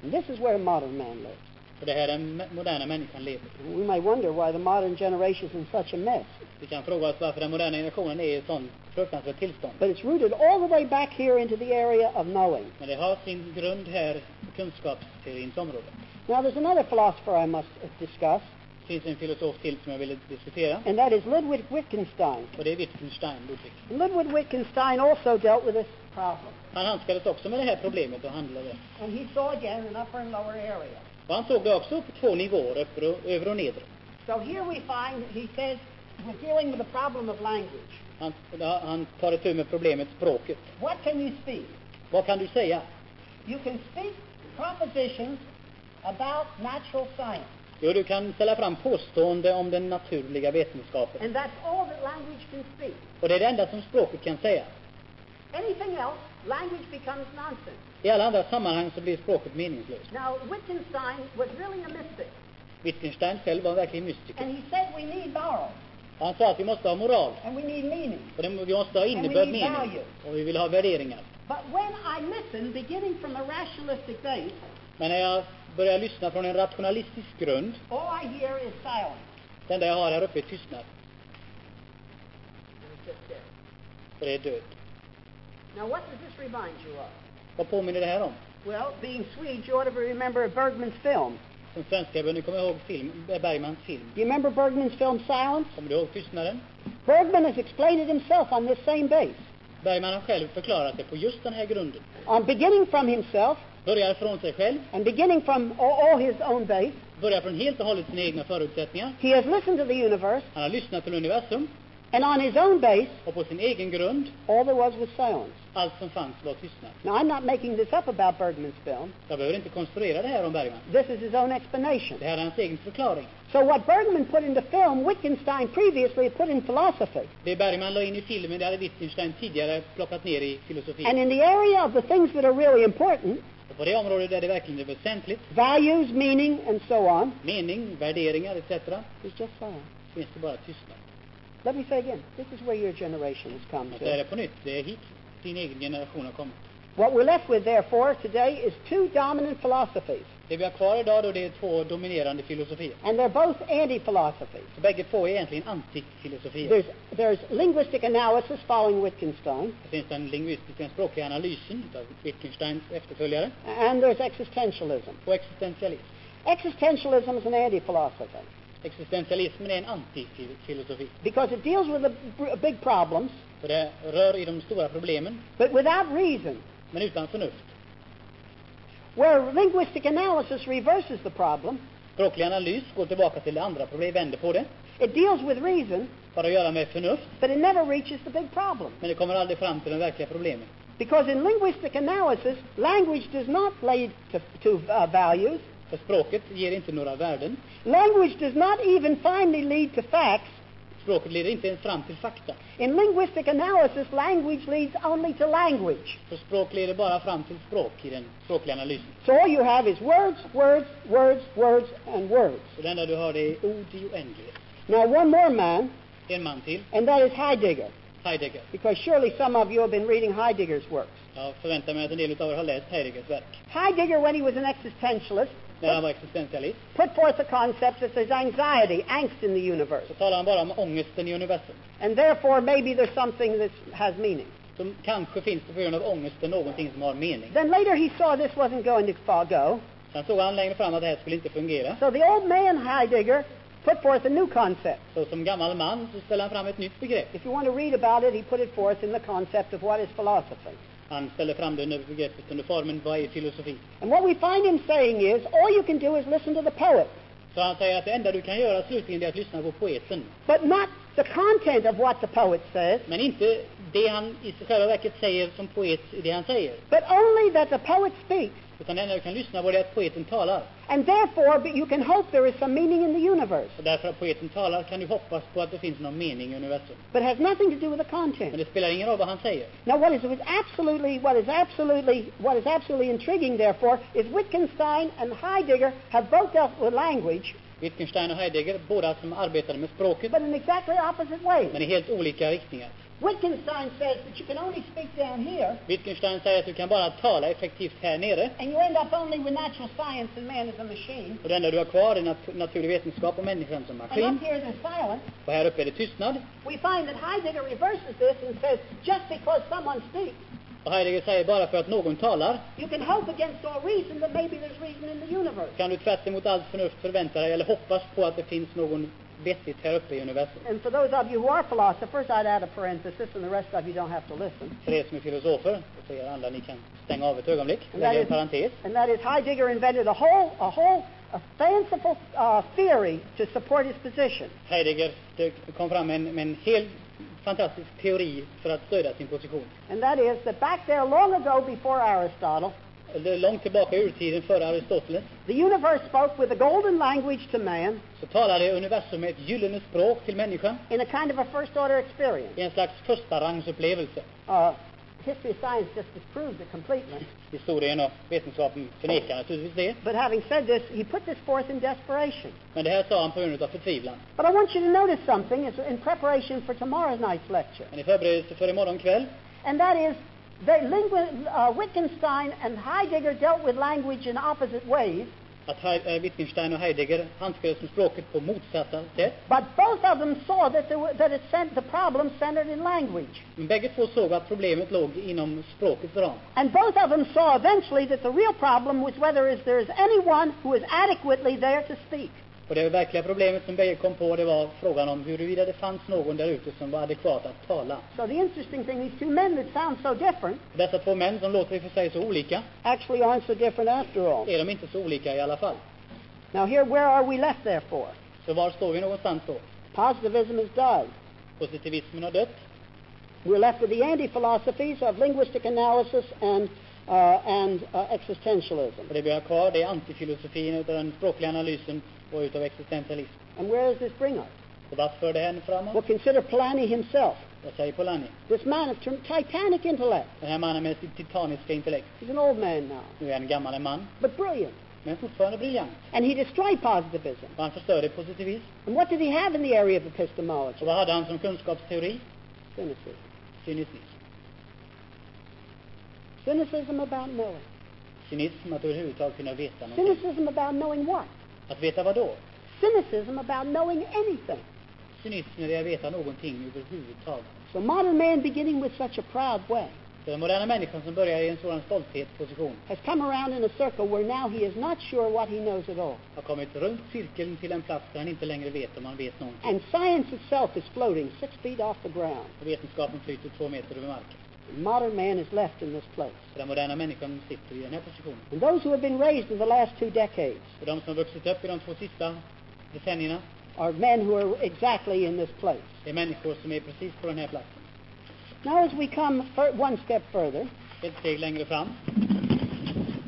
Speaker 2: And this is where modern man lives.
Speaker 3: För det här är den me- moderna människan lever.
Speaker 2: We may wonder why the modern generation is in such a mess,
Speaker 3: Vi kan fråga oss varför den moderna generationen är i ett sånt fruktansvärt tillstånd.
Speaker 2: but it's rooted all the way back here into the area of knowing.
Speaker 3: Men det har sin grund här i kunskapsteorins område.
Speaker 2: Now, there's another philosopher I must uh, discuss,
Speaker 3: Det finns en filosof till som jag ville diskutera
Speaker 2: and that is Ludwig Wittgenstein.
Speaker 3: och det är Wittgenstein, Ludwig.
Speaker 2: And Ludwig Wittgenstein also dealt with this problem,
Speaker 3: Han handskades också med det här problemet och handlade.
Speaker 2: and he saw again an upper and lower area.
Speaker 3: Och han såg det också på två nivåer, övre och, övre och nedre.
Speaker 2: So here we find, he says, we're dealing with the problem of language.
Speaker 3: Han, han tar itu med problemet språket.
Speaker 2: What can you speak?
Speaker 3: Vad kan du säga?
Speaker 2: You can speak propositions about natural science,
Speaker 3: Jo, du kan ställa fram påstående om den naturliga vetenskapen.
Speaker 2: and that's all that language can speak.
Speaker 3: Och det är det enda som språket kan säga.
Speaker 2: Anything else, language becomes nonsense.
Speaker 3: I alla andra sammanhang så blir språket meningslöst.
Speaker 2: Now, Wittgenstein was really a mystic,
Speaker 3: Wittgenstein själv var verkligen mystiker.
Speaker 2: and he said we need morals,
Speaker 3: Och han sa att vi måste ha moral.
Speaker 2: and we need meaning.
Speaker 3: Och det, vi måste ha innebörd, mening. Och vi vill ha värderingar.
Speaker 2: But when I listen, beginning from a rationalistic base,
Speaker 3: Men när jag börjar lyssna från en rationalistisk grund,
Speaker 2: all I hear is silence.
Speaker 3: det enda jag har här uppe är tystnad. För det är död.
Speaker 2: Now, what does this remind you of?
Speaker 3: Vad påminner det här om?
Speaker 2: Well, being Swedes, you ought to remember Bergman's film.
Speaker 3: Som svenskar bör ni komma ihåg film, eh, Bergmans film.
Speaker 2: Do you remember Bergman's film Silence?
Speaker 3: Kommer du ihåg tystnaden?
Speaker 2: Bergman has explained it himself on this same base.
Speaker 3: Bergman har själv förklarat det på just den här grunden.
Speaker 2: On beginning from himself
Speaker 3: Börjar från sig själv,
Speaker 2: and beginning from all, all his own base,
Speaker 3: börjar från helt och hållet sina egna förutsättningar.
Speaker 2: he has listened to the universe,
Speaker 3: Han har lyssnat till universum
Speaker 2: and on his own base,
Speaker 3: och på sin egen grund,
Speaker 2: all there was was silence.
Speaker 3: allt som fanns var tystnad.
Speaker 2: Now, I'm not making this up about Bergman's film.
Speaker 3: Jag behöver inte konstruera det här om Bergman.
Speaker 2: This is his own
Speaker 3: Det
Speaker 2: explanation.
Speaker 3: här är hans egen förklaring.
Speaker 2: So what Bergman put into film, Wittgenstein previously had put in philosophy.
Speaker 3: Det Bergman la in i filmen, det hade Wittgenstein tidigare plockat ner i
Speaker 2: And
Speaker 3: filosofin.
Speaker 2: in the area of the things that are really important,
Speaker 3: Och på det området där det verkligen är väsentligt,
Speaker 2: values, meaning, and so on,
Speaker 3: mening, värderingar etc.
Speaker 2: is just silence.
Speaker 3: finns det bara tystnad.
Speaker 2: Let me say again, this is where your generation has come
Speaker 3: Jag säger
Speaker 2: to.
Speaker 3: det på nytt, det är hit din egen generation har kommit.
Speaker 2: What we're left with, therefore, today is two dominant philosophies,
Speaker 3: Det vi har kvar idag då, det är två dominerande filosofier.
Speaker 2: and they're both anti-philosophies.
Speaker 3: Och bägge två är egentligen antifilosofier.
Speaker 2: There's, there's linguistic analysis following Wittgenstein,
Speaker 3: Det finns den lingvistiska, den språkliga analysen av Wittgensteins efterföljare
Speaker 2: and there's existentialism.
Speaker 3: och existentialism.
Speaker 2: Existentialism is an anti-philosophy
Speaker 3: Existentialismen är en antifilosofi.
Speaker 2: because it deals with the b- big problems,
Speaker 3: För det rör i de stora problemen,
Speaker 2: but without reason,
Speaker 3: men utan förnuft.
Speaker 2: where linguistic analysis reverses the problem.
Speaker 3: Språklig analys går tillbaka till det andra problemet, vänder på det.
Speaker 2: It deals with reason,
Speaker 3: Har att göra med förnuft,
Speaker 2: but it never reaches the big problem.
Speaker 3: men det kommer aldrig fram till de verkliga problemen.
Speaker 2: Because in linguistic analysis, language does not lead to, to uh, values.
Speaker 3: För språket ger inte några värden.
Speaker 2: Language does not even finally lead to facts.
Speaker 3: Språket leder inte ens fram till fakta.
Speaker 2: In linguistic analysis, language leads only to language.
Speaker 3: För språk leder bara fram till språk i den språkliga analysen.
Speaker 2: So all you have is words, words, words, words, and words.
Speaker 3: Så det enda du har det är ord i oändlighet.
Speaker 2: Now, one more man,
Speaker 3: En man till,
Speaker 2: and that is Heidegger,
Speaker 3: Heidegger.
Speaker 2: because surely some of you have been reading Heidegger's works.
Speaker 3: Jag förväntar mig att en del av er har läst Heideggers verk.
Speaker 2: Heidegger, when he was an existentialist,
Speaker 3: När han var existentialist
Speaker 2: put forth the concept that there's anxiety, angst in the universe,
Speaker 3: så talar han bara om ångesten i universum.
Speaker 2: and therefore maybe there's something that has meaning.
Speaker 3: Så kanske finns det på grund av ångesten någonting som har mening.
Speaker 2: Then later he saw this wasn't going to far go,
Speaker 3: Sen såg han längre fram att det här skulle inte fungera.
Speaker 2: so the old man Heidegger put forth a new concept.
Speaker 3: Så som gammal man så ställde han fram ett nytt begrepp.
Speaker 2: If you want to read about it, he put it forth in the concept of what is philosophy.
Speaker 3: Han ställde fram det under begreppet under formen Vad är filosofi?
Speaker 2: And what we find him saying is, all you can do is listen to the poet,
Speaker 3: Så han säger att det enda du kan göra slutligen är att lyssna på poeten.
Speaker 2: but not the content of what the poet says,
Speaker 3: Men inte det han i själva verket säger som poet i det han säger.
Speaker 2: but only that the poet speaks.
Speaker 3: Utan det enda du kan lyssna på det är att poeten talar.
Speaker 2: And therefore, but you can hope there is some meaning in the universe,
Speaker 3: Och därför att poeten talar kan du hoppas på att det finns någon mening i universum.
Speaker 2: but it has nothing to do with the
Speaker 3: Men
Speaker 2: content.
Speaker 3: det spelar ingen roll vad han säger.
Speaker 2: Now, what is was absolutely, what is absolutely, what is absolutely intriguing, therefore, is Wittgenstein and Heidegger have both dealt with language,
Speaker 3: Wittgenstein och Heidegger, båda som arbetade med språket,
Speaker 2: but in exactly opposite
Speaker 3: men
Speaker 2: ways.
Speaker 3: i helt olika riktningar.
Speaker 2: Wittgenstein says that you can only speak down here,
Speaker 3: Wittgenstein säger att du kan bara tala effektivt här nere
Speaker 2: and you end up only with natural science and man as a machine.
Speaker 3: och det enda du har kvar är nat- naturlig vetenskap och människan som
Speaker 2: And
Speaker 3: maskin.
Speaker 2: up here there's silence.
Speaker 3: Och här uppe är det tystnad.
Speaker 2: We find that Heidegger reverses this and says, just because someone speaks,
Speaker 3: Och Heidegger säger bara för att någon talar
Speaker 2: you can hope against all reason that maybe there's reason in the universe.
Speaker 3: kan du tvärt emot allt förnuft förvänta dig eller hoppas på att det finns någon vettigt här uppe i universum.
Speaker 2: And for those of you who are philosophers, I'd add a parenthesis, and the rest of you don't have to listen.
Speaker 3: För er som är filosofer, och för er andra, ni kan stänga av ett ögonblick,
Speaker 2: And that
Speaker 3: lägga en
Speaker 2: is,
Speaker 3: parentes.
Speaker 2: and that is Heidegger invented a whole, a whole a fanciful uh, theory to support his position.
Speaker 3: Heidegger det kom fram med en, med en helt fantastisk teori för att stödja sin position.
Speaker 2: And that is that back there, long ago before Aristotle,
Speaker 3: Eller Långt tillbaka i urtiden, före Aristoteles,
Speaker 2: the universe spoke with a golden language to man
Speaker 3: så talade universum med ett gyllene språk till människan
Speaker 2: in a kind of a first-order experience.
Speaker 3: i en slags förstarangsupplevelse.
Speaker 2: Uh, history of science just disproved it completely.
Speaker 3: Historien och vetenskapen förnekar naturligtvis det,
Speaker 2: But having said this, he put this forth in desperation.
Speaker 3: men det här sa han på grund av förtvivlan.
Speaker 2: But I want you to notice something it's in preparation for tomorrow night's lecture,
Speaker 3: Men i förberedelse för imorgon kväll
Speaker 2: and that is that lingua, uh, Wittgenstein and Heidegger dealt with language in opposite ways,
Speaker 3: att Hei- eh, Wittgenstein och Heidegger handskades med språket på motsatta sätt.
Speaker 2: but both of them saw that, there were, that it sent the problem centered in language.
Speaker 3: Men bägge två såg att problemet låg inom språkets ram.
Speaker 2: And both of them saw eventually that the real problem was whether is there is anyone who is adequately there to speak.
Speaker 3: Och det verkliga problemet som bägge kom på det var frågan om huruvida det fanns någon där ute som var adekvat att tala.
Speaker 2: So the interesting thing, these two men that sound so different
Speaker 3: Dessa två män som låter i och för sig så olika,
Speaker 2: actually aren't so different after all.
Speaker 3: är de inte så olika i alla fall.
Speaker 2: Now here, where are we left therefore?
Speaker 3: Så var står vi någonstans då?
Speaker 2: Positivism is died.
Speaker 3: Positivismen har dött.
Speaker 2: We're left with the anti-philosophies of linguistic analysis and, uh, and uh,
Speaker 3: Och
Speaker 2: existentialism.
Speaker 3: det vi har kvar det är antifilosofin utav den språkliga analysen och utav existentialism.
Speaker 2: And where does this bring us?
Speaker 3: Och vart för det här
Speaker 2: Well,
Speaker 3: framåt?
Speaker 2: consider Polanyi himself,
Speaker 3: Vad säger Polanyi?
Speaker 2: this man of t- titanic intellect.
Speaker 3: Den här mannen med sitt titaniska intellekt.
Speaker 2: He's an old man now,
Speaker 3: Nu är han en gammal man,
Speaker 2: but brilliant.
Speaker 3: men fortfarande briljant.
Speaker 2: And he destroyed positivism.
Speaker 3: Och han förstörde positivism.
Speaker 2: And what did he have in the area of
Speaker 3: Och
Speaker 2: epistemology?
Speaker 3: vad hade han som kunskapsteori?
Speaker 2: Cynicism.
Speaker 3: Cynism.
Speaker 2: Cynicism about knowing.
Speaker 3: Cynism, att överhuvudtaget kunna veta någonting.
Speaker 2: Cynicism about knowing what?
Speaker 3: Att veta vad då?
Speaker 2: Cynicism about knowing anything.
Speaker 3: Cynism är det att veta någonting överhuvudtaget.
Speaker 2: So modern man, beginning with such a proud way,
Speaker 3: Så den moderna människan som börjar i en sådan stolthetsposition
Speaker 2: has come around in a circle where now he is not sure what he knows at all.
Speaker 3: har kommit runt cirkeln till en plats där han inte längre vet om han vet någonting.
Speaker 2: And science itself is floating six feet off the ground.
Speaker 3: Och vetenskapen flyter två meter över marken.
Speaker 2: Modern man is left in this place.
Speaker 3: Så den moderna människan sitter i den här positionen.
Speaker 2: And those who have been raised in the last two decades
Speaker 3: Och de som har vuxit upp i de två sista decennierna,
Speaker 2: are men who are exactly in this place.
Speaker 3: det är människor som är precis på den här platsen.
Speaker 2: Now, as we come fir- one step further,
Speaker 3: ett steg längre fram,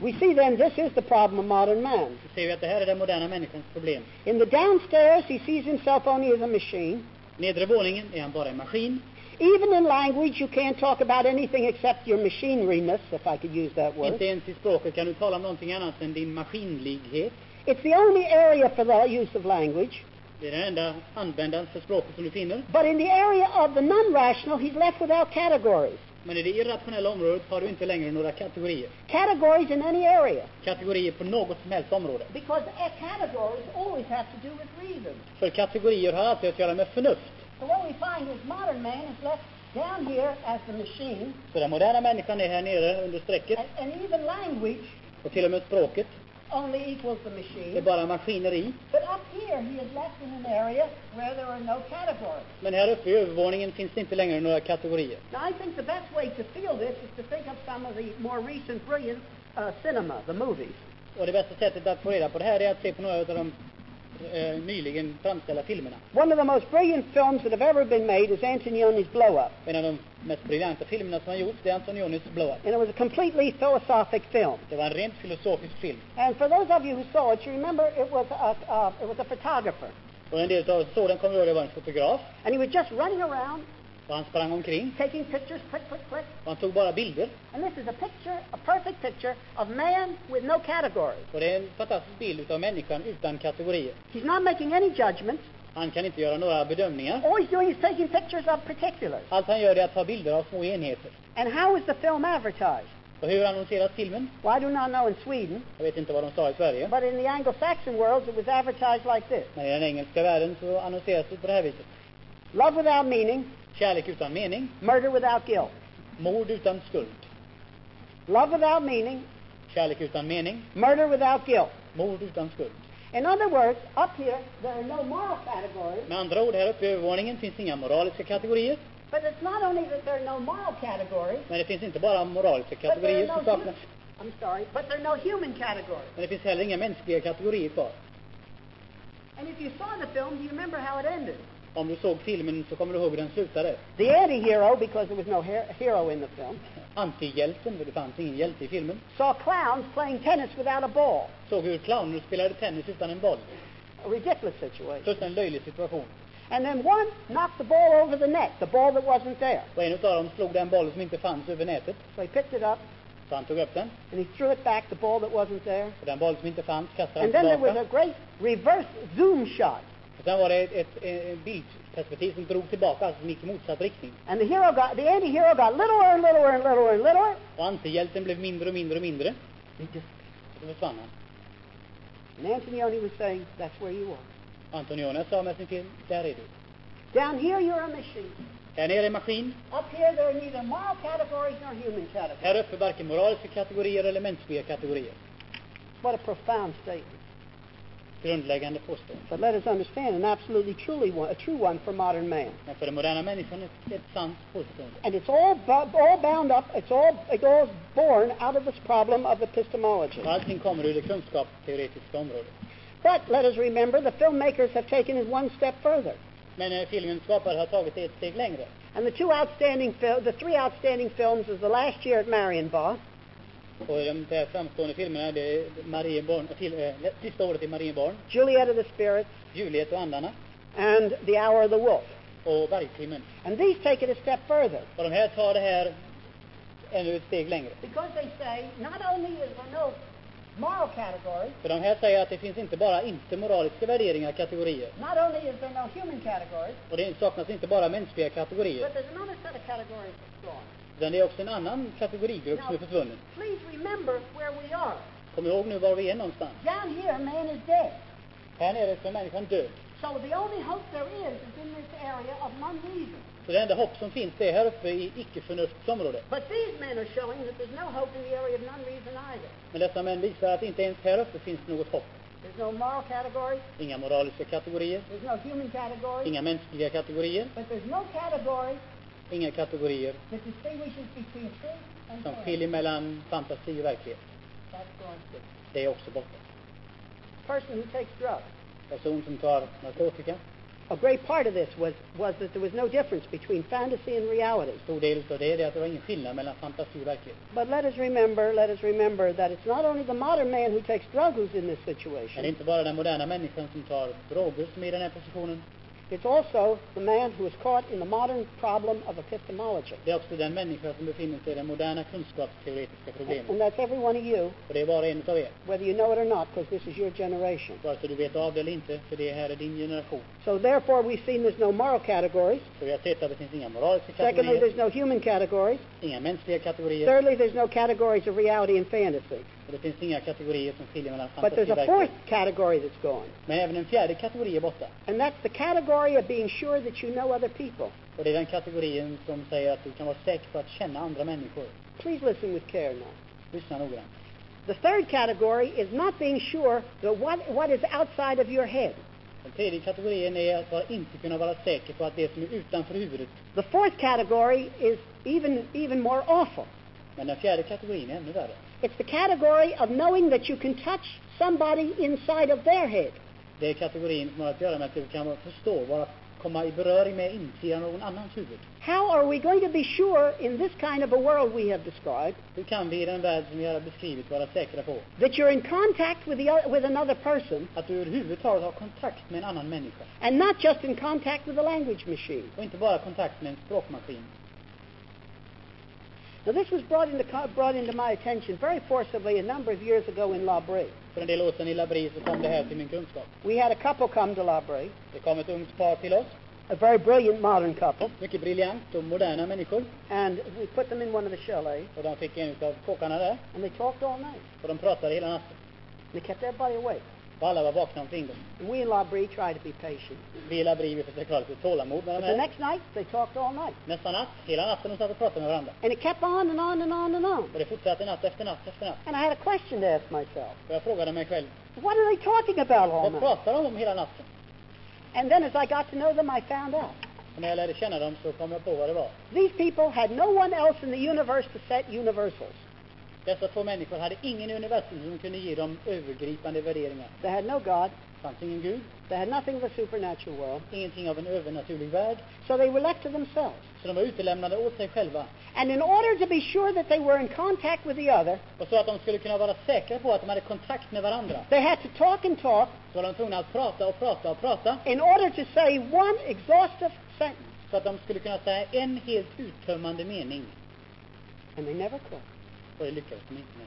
Speaker 2: We see then this is the problem of modern man.
Speaker 3: så ser vi att det här är den moderna människans problem.
Speaker 2: In the downstairs, he sees himself only as a machine.
Speaker 3: Nedre våningen är han bara en maskin.
Speaker 2: Even in language, you can't talk about anything except your machineriness, if I could use that word.
Speaker 3: Inte ens i språket kan du tala om någonting annat än din maskinlighet.
Speaker 2: It's the only area for the use of language.
Speaker 3: Det är den enda användaren för språket som du finner.
Speaker 2: But in the area of the non-rational, he's left without categories.
Speaker 3: Men i det irrationella området har du inte längre några kategorier.
Speaker 2: Categories in any area.
Speaker 3: Kategorier på något som helst område.
Speaker 2: Because categories always have to do with reason.
Speaker 3: För kategorier har alltid att göra med förnuft.
Speaker 2: So what we find is modern man is left down here as the machine,
Speaker 3: Så den moderna människan är här nere under strecket
Speaker 2: and even language
Speaker 3: och till och med språket.
Speaker 2: only equals the
Speaker 3: Det är
Speaker 2: machine.
Speaker 3: bara maskineri.
Speaker 2: But up here, he is left in an area where there are no categories.
Speaker 3: Men här uppe i övervåningen finns det inte längre några kategorier.
Speaker 2: Now, I think the best way to feel this is to think of some of the more recent brilliant uh, cinema, the movies.
Speaker 3: Och det bästa sättet att få reda på det här är att se på några av de eh, nyligen framställda filmerna.
Speaker 2: One of the most brilliant films that have ever been made is Antonioni's Blow Up,
Speaker 3: En av de mest briljanta filmerna som har gjorts det är Antonionis Blow Up.
Speaker 2: and it was a completely philosophic film.
Speaker 3: Det var en rent filosofisk film.
Speaker 2: And for those of you who saw it, you remember it was a, uh, it was a photographer,
Speaker 3: Och en del av oss såg den kommer ihåg det var en fotograf.
Speaker 2: and he was just running around
Speaker 3: Och han sprang omkring
Speaker 2: taking pictures, click, click, click.
Speaker 3: och han tog bara bilder.
Speaker 2: And this is a picture, a perfect picture of man with no categories.
Speaker 3: Och det är en fantastisk bild av människan utan kategorier.
Speaker 2: He's not making any judgments.
Speaker 3: Han kan inte göra några bedömningar.
Speaker 2: All he's doing is taking pictures of particulars.
Speaker 3: Allt han gör är att ta bilder av små enheter.
Speaker 2: And how is the film advertised?
Speaker 3: Och hur annonseras filmen?
Speaker 2: Well, I do not know in Sweden,
Speaker 3: Jag vet inte vad de sa i Sverige.
Speaker 2: but in the Anglo-Saxon world, it was advertised like this.
Speaker 3: Men i den engelska världen så annonseras det på det här viset.
Speaker 2: Love without meaning,
Speaker 3: Kärlek utan mening.
Speaker 2: murder without guilt.
Speaker 3: Mord utan skuld.
Speaker 2: Love without meaning,
Speaker 3: Kärlek utan mening.
Speaker 2: murder without guilt.
Speaker 3: Mord utan skuld.
Speaker 2: In other words, up here, there are no moral categories,
Speaker 3: Med andra ord, här uppe i övervåningen finns inga moraliska kategorier.
Speaker 2: but it's not only that there are no moral categories,
Speaker 3: Men det finns inte bara moraliska
Speaker 2: but there
Speaker 3: kategorier
Speaker 2: are no
Speaker 3: som saknas.
Speaker 2: human, I'm sorry, but there are no human categories.
Speaker 3: Men det finns heller inga mänskliga kategorier kvar.
Speaker 2: And if you saw the film, do you remember how it ended?
Speaker 3: Om du såg filmen så kommer du ihåg hur den slutade.
Speaker 2: The anti-hero, because there was no her- hero in the film,
Speaker 3: Antihjälten, för det fanns ingen hjälte i filmen,
Speaker 2: saw clowns playing tennis without a ball.
Speaker 3: såg hur clowner spelade tennis utan en boll.
Speaker 2: A ridiculous situation.
Speaker 3: Först en löjlig situation.
Speaker 2: And then one knocked the ball over the net, the ball that wasn't there.
Speaker 3: Och en av dem slog den boll som inte fanns över nätet.
Speaker 2: So he picked it up
Speaker 3: Så han tog upp den.
Speaker 2: and he threw it back, the ball that wasn't there.
Speaker 3: Och den boll som inte fanns kastade han
Speaker 2: And then there was
Speaker 3: tillbaka.
Speaker 2: a great reverse zoom shot.
Speaker 3: Och sen var det ett, ett, ett bildperspektiv som drog tillbaka, alltså som gick i motsatt riktning.
Speaker 2: And the hero got, the anti-hero got littler and littler and littler and littler.
Speaker 3: Och antihjälten blev mindre och mindre och mindre.
Speaker 2: He just,
Speaker 3: Och så försvann han.
Speaker 2: and Antonioni was saying, that's where you are.
Speaker 3: Antonione sa med sin film, där är du.
Speaker 2: Down here you're a machine.
Speaker 3: Här nere är maskin.
Speaker 2: Up here there are neither moral categories nor human categories.
Speaker 3: Här uppe varken moraliska kategorier eller mänskliga kategorier.
Speaker 2: What a profound statement.
Speaker 3: Grundläggande påstående.
Speaker 2: But let us understand an absolutely truly one, a true one for modern man.
Speaker 3: Men för den moderna människan är det ett sant påstående.
Speaker 2: And it's all, bu- all bound up, it's all, it all is born out of this problem of epistemology.
Speaker 3: Och allting kommer ur det kunskapsteoretiska området.
Speaker 2: But let us remember the filmmakers have taken it one step further.
Speaker 3: Men eh, filmens skapare har tagit det ett steg längre.
Speaker 2: And the two outstanding fil- the three outstanding films is The Last Year at Marienbad,
Speaker 3: Och de där framstående filmerna, det är Marienborn, till, eh, Sista året i Marienborn,
Speaker 2: Juliet of the Spirits,
Speaker 3: Juliet och andarna
Speaker 2: and The Hour of the Wolf.
Speaker 3: och Bergtimmen.
Speaker 2: And these take it a step further.
Speaker 3: Och de här tar det här ännu ett steg längre.
Speaker 2: Because they say not only is there no moral category,
Speaker 3: För de här säger att det finns inte bara inte moraliska värderingar, kategorier.
Speaker 2: not only is there no human category,
Speaker 3: Och det saknas inte bara mänskliga kategorier.
Speaker 2: there's another set of categories that's gone.
Speaker 3: Utan det är också en annan kategorigrupp som är försvunnen.
Speaker 2: Please remember where we are.
Speaker 3: Kom ihåg nu var vi är någonstans.
Speaker 2: Down here, man is dead.
Speaker 3: Här nere så är människan död.
Speaker 2: So the only hope there is is in this area of non-reason.
Speaker 3: Så det enda hopp som finns det är här uppe i icke-förnuftets område.
Speaker 2: But these men are showing that there's no hope in the area of non-reason either.
Speaker 3: Men dessa män visar att inte ens här uppe finns något hopp.
Speaker 2: There's no moral category.
Speaker 3: Inga moraliska kategorier,
Speaker 2: There's no human category.
Speaker 3: inga mänskliga kategorier,
Speaker 2: But there's no category
Speaker 3: inga kategorier
Speaker 2: that distinguishes between truth and
Speaker 3: som
Speaker 2: error.
Speaker 3: skiljer mellan fantasi och verklighet.
Speaker 2: That's gone too.
Speaker 3: Det är också borta.
Speaker 2: Person who takes drugs.
Speaker 3: Person som tar narkotika,
Speaker 2: a great part of this was, was that there was no difference between fantasy and reality.
Speaker 3: En stor del av det är det att det var ingen skillnad mellan fantasi och verklighet.
Speaker 2: But let us remember, let us remember that it's not only the modern man who takes drugs who's in this
Speaker 3: Men det är
Speaker 2: situation.
Speaker 3: inte bara den moderna människan som tar droger som är i den här positionen.
Speaker 2: It's also the man who is caught in the modern problem of epistemology.
Speaker 3: Det är också den människa som befinner sig i det moderna kunskapsteoretiska
Speaker 2: And
Speaker 3: problemet.
Speaker 2: that's every one of you,
Speaker 3: Och det är bara en av er,
Speaker 2: whether you know it or not, because this is your generation.
Speaker 3: vare sig du vet av det eller inte, för det här är din generation.
Speaker 2: So therefore, we've seen there's no moral categories.
Speaker 3: Så vi har sett att det finns inga moraliska
Speaker 2: Secondly,
Speaker 3: kategorier,
Speaker 2: there's no human categories.
Speaker 3: inga mänskliga kategorier,
Speaker 2: Thirdly, there's no categories of reality and fantasy.
Speaker 3: och det finns inga kategorier som skiljer mellan
Speaker 2: But
Speaker 3: fantasi
Speaker 2: there's
Speaker 3: och
Speaker 2: a fourth
Speaker 3: verklighet.
Speaker 2: category that's gone,
Speaker 3: Men även en fjärde kategori är borta.
Speaker 2: and that's the category of being sure that you know other people.
Speaker 3: Och det är den kategorin som säger att du kan vara säker på att känna andra människor.
Speaker 2: Please listen with care now.
Speaker 3: Lyssna noggrant.
Speaker 2: The third category is not being sure that what, what is outside of your head.
Speaker 3: Den tredje kategorin är att vara, inte kunna vara säker på att det som är utanför huvudet.
Speaker 2: The fourth category is even, even more awful.
Speaker 3: Men den fjärde kategorin är ännu värre.
Speaker 2: It's the category of knowing that you can touch somebody inside of their head.
Speaker 3: Det är kategorin som har att göra med att du kan förstå, vara, komma i beröring med insidan av någon annans huvud.
Speaker 2: How are we going to be sure in this kind of a world we have described
Speaker 3: Hur kan vi i den värld som vi har beskrivit vara säkra på
Speaker 2: that you're in contact with, the, o- with another person
Speaker 3: att du överhuvudtaget har kontakt med en annan människa?
Speaker 2: and not just in contact with a language machine?
Speaker 3: Och inte bara kontakt med en språkmaskin.
Speaker 2: Now, this was brought into, co- brought into my attention very forcibly a number of years ago in La Brie.
Speaker 3: För en del år sedan i Labris så kom det här till min kunskap.
Speaker 2: We had a couple come to La Brie,
Speaker 3: Det kom ett ungt par till oss,
Speaker 2: a very brilliant modern couple,
Speaker 3: mycket briljant och moderna människor.
Speaker 2: and we put them in one of the chalets,
Speaker 3: Och de fick en av kockarna där.
Speaker 2: and they talked all night.
Speaker 3: Och de pratade hela natten.
Speaker 2: They kept everybody awake.
Speaker 3: Och alla var vakna omkring dem.
Speaker 2: And we in La Brie tried to be patient.
Speaker 3: Vi i Labri vi försökte ha lite tålamod med
Speaker 2: But
Speaker 3: de
Speaker 2: the
Speaker 3: här.
Speaker 2: next night, they talked all night.
Speaker 3: Nästa natt, hela natten, de satt och pratade med varandra.
Speaker 2: And it kept on and on and on and on.
Speaker 3: Och det fortsatte natt efter natt efter natt.
Speaker 2: And I had a question to ask myself.
Speaker 3: Och jag frågade mig själv,
Speaker 2: What are they talking about all
Speaker 3: vad
Speaker 2: night?
Speaker 3: pratar de om hela natten?
Speaker 2: And then as I got to know them, I found out.
Speaker 3: Och när jag lärde känna dem så kom jag på vad det var.
Speaker 2: These people had no one else in the universe to set universals.
Speaker 3: Dessa två människor hade ingen i universum som kunde ge dem övergripande värderingar.
Speaker 2: They had no God.
Speaker 3: Det fanns ingen gud,
Speaker 2: They had nothing of the supernatural world.
Speaker 3: ingenting av en övernaturlig värld.
Speaker 2: So they were left to themselves.
Speaker 3: Så de var utelämnade åt sig själva.
Speaker 2: And in order to be sure that they were in contact with the other,
Speaker 3: Och så att de skulle kunna vara säkra på att de hade kontakt med varandra
Speaker 2: they had to talk and talk
Speaker 3: så var de tvungna att prata och prata och prata
Speaker 2: in order to say one exhaustive sentence.
Speaker 3: så att de skulle kunna säga en helt uttömmande mening.
Speaker 2: And they never could.
Speaker 3: Och det lyckades de inte med.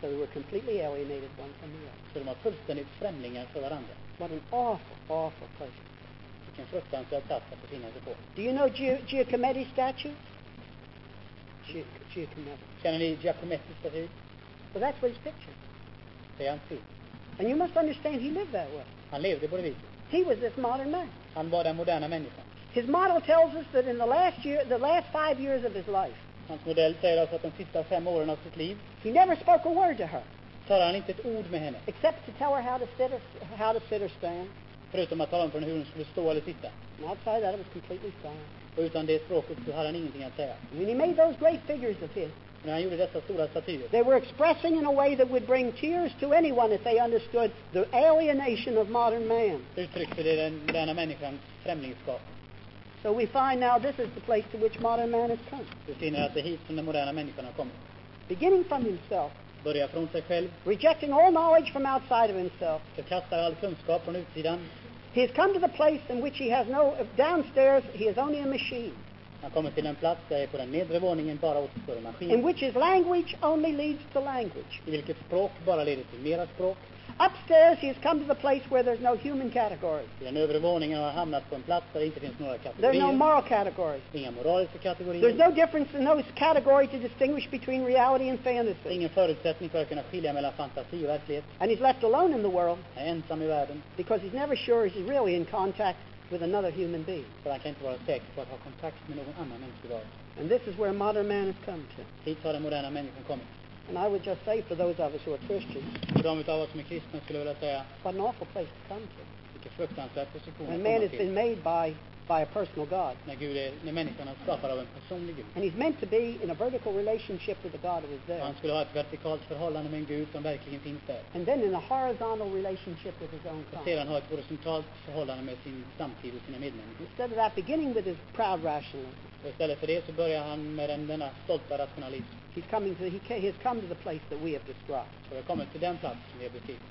Speaker 2: So they were completely alienated one from the other.
Speaker 3: Så de var fullständigt främlingar för varandra.
Speaker 2: What an awful, awful place.
Speaker 3: Vilken fruktansvärd plats att befinna sig på.
Speaker 2: Do you know Gio- Giacometti's statue? Gio- Giacometti.
Speaker 3: Känner ni Giacomettis staty?
Speaker 2: Well, that's what his picture.
Speaker 3: Det är hans stil.
Speaker 2: And you must understand he lived that way.
Speaker 3: Han levde på det viset.
Speaker 2: He was this modern man.
Speaker 3: Han var den moderna människan.
Speaker 2: His model tells us that in the last year, the last five years of his life,
Speaker 3: Hans modell säger oss att de sista fem åren av sitt liv
Speaker 2: he never spoke a word to her
Speaker 3: talar han inte ett ord med henne.
Speaker 2: except to tell her how to sit or how to sit or stand.
Speaker 3: Förutom att tala om för henne hur hon skulle stå eller sitta.
Speaker 2: And outside that, it was completely silent.
Speaker 3: Och utan det språket så hade han ingenting att säga.
Speaker 2: When he made those great figures of his,
Speaker 3: När han gjorde dessa stora statyer
Speaker 2: they were expressing in a way that would bring tears to anyone if they understood the alienation of modern man.
Speaker 3: uttryckte det den moderna människans främlingskap.
Speaker 2: So we find now this is the place to which modern man has come,
Speaker 3: Vi finner att det är hit som den moderna människan har kommit.
Speaker 2: beginning from himself,
Speaker 3: Börjar från sig själv,
Speaker 2: rejecting all knowledge from outside of himself.
Speaker 3: förkastar all kunskap från utsidan.
Speaker 2: He has come to the place in which he has no, downstairs he is only a machine,
Speaker 3: Han kommer till en plats där på den nedre våningen bara återstår en
Speaker 2: in
Speaker 3: maskin.
Speaker 2: which his language only leads to language.
Speaker 3: I vilket språk bara leder till mera språk.
Speaker 2: Upstairs he has come to the place where there's no human category.
Speaker 3: I den övre våningen har han hamnat på en plats där det inte finns några
Speaker 2: There's no
Speaker 3: kategorier.
Speaker 2: moral category.
Speaker 3: Inga moraliska
Speaker 2: There's
Speaker 3: kategorier.
Speaker 2: no difference in those categories to distinguish between reality and fantasy.
Speaker 3: Ingen förutsättning för att kunna skilja mellan fantasi och verklighet.
Speaker 2: And he's left alone in the world
Speaker 3: Han är ensam i världen,
Speaker 2: because he's never sure he's really in contact with another human being.
Speaker 3: för han kan inte vara säker på att ha kontakt med någon annan mänsklig varelse.
Speaker 2: And this is where modern man has come to.
Speaker 3: Hit har den moderna människan kommit.
Speaker 2: And I would just say for those of us who are Christians,
Speaker 3: För de utav oss som är kristna skulle jag vilja säga,
Speaker 2: what an awful place to come to.
Speaker 3: vilken fruktansvärd position att
Speaker 2: When man
Speaker 3: komma
Speaker 2: has been
Speaker 3: till.
Speaker 2: made by, by a personal God.
Speaker 3: När, Gud är, när människan är skapad av en personlig Gud.
Speaker 2: And he's meant to be in a vertical relationship with the God who is
Speaker 3: Och
Speaker 2: there.
Speaker 3: Han skulle ha ett vertikalt förhållande med en Gud som verkligen finns där.
Speaker 2: And then in a horizontal relationship with his own
Speaker 3: Och
Speaker 2: kind.
Speaker 3: sedan ha ett horisontalt förhållande med sin samtid och sina medmänniskor.
Speaker 2: Instead of that, beginning with his proud rationalism,
Speaker 3: Och istället för det så börjar han med den, denna stolta rationalism.
Speaker 2: he's, coming to, he, ca- he has come to the place that we have described.
Speaker 3: Och vi har kommit till den plats som vi har beskrivit.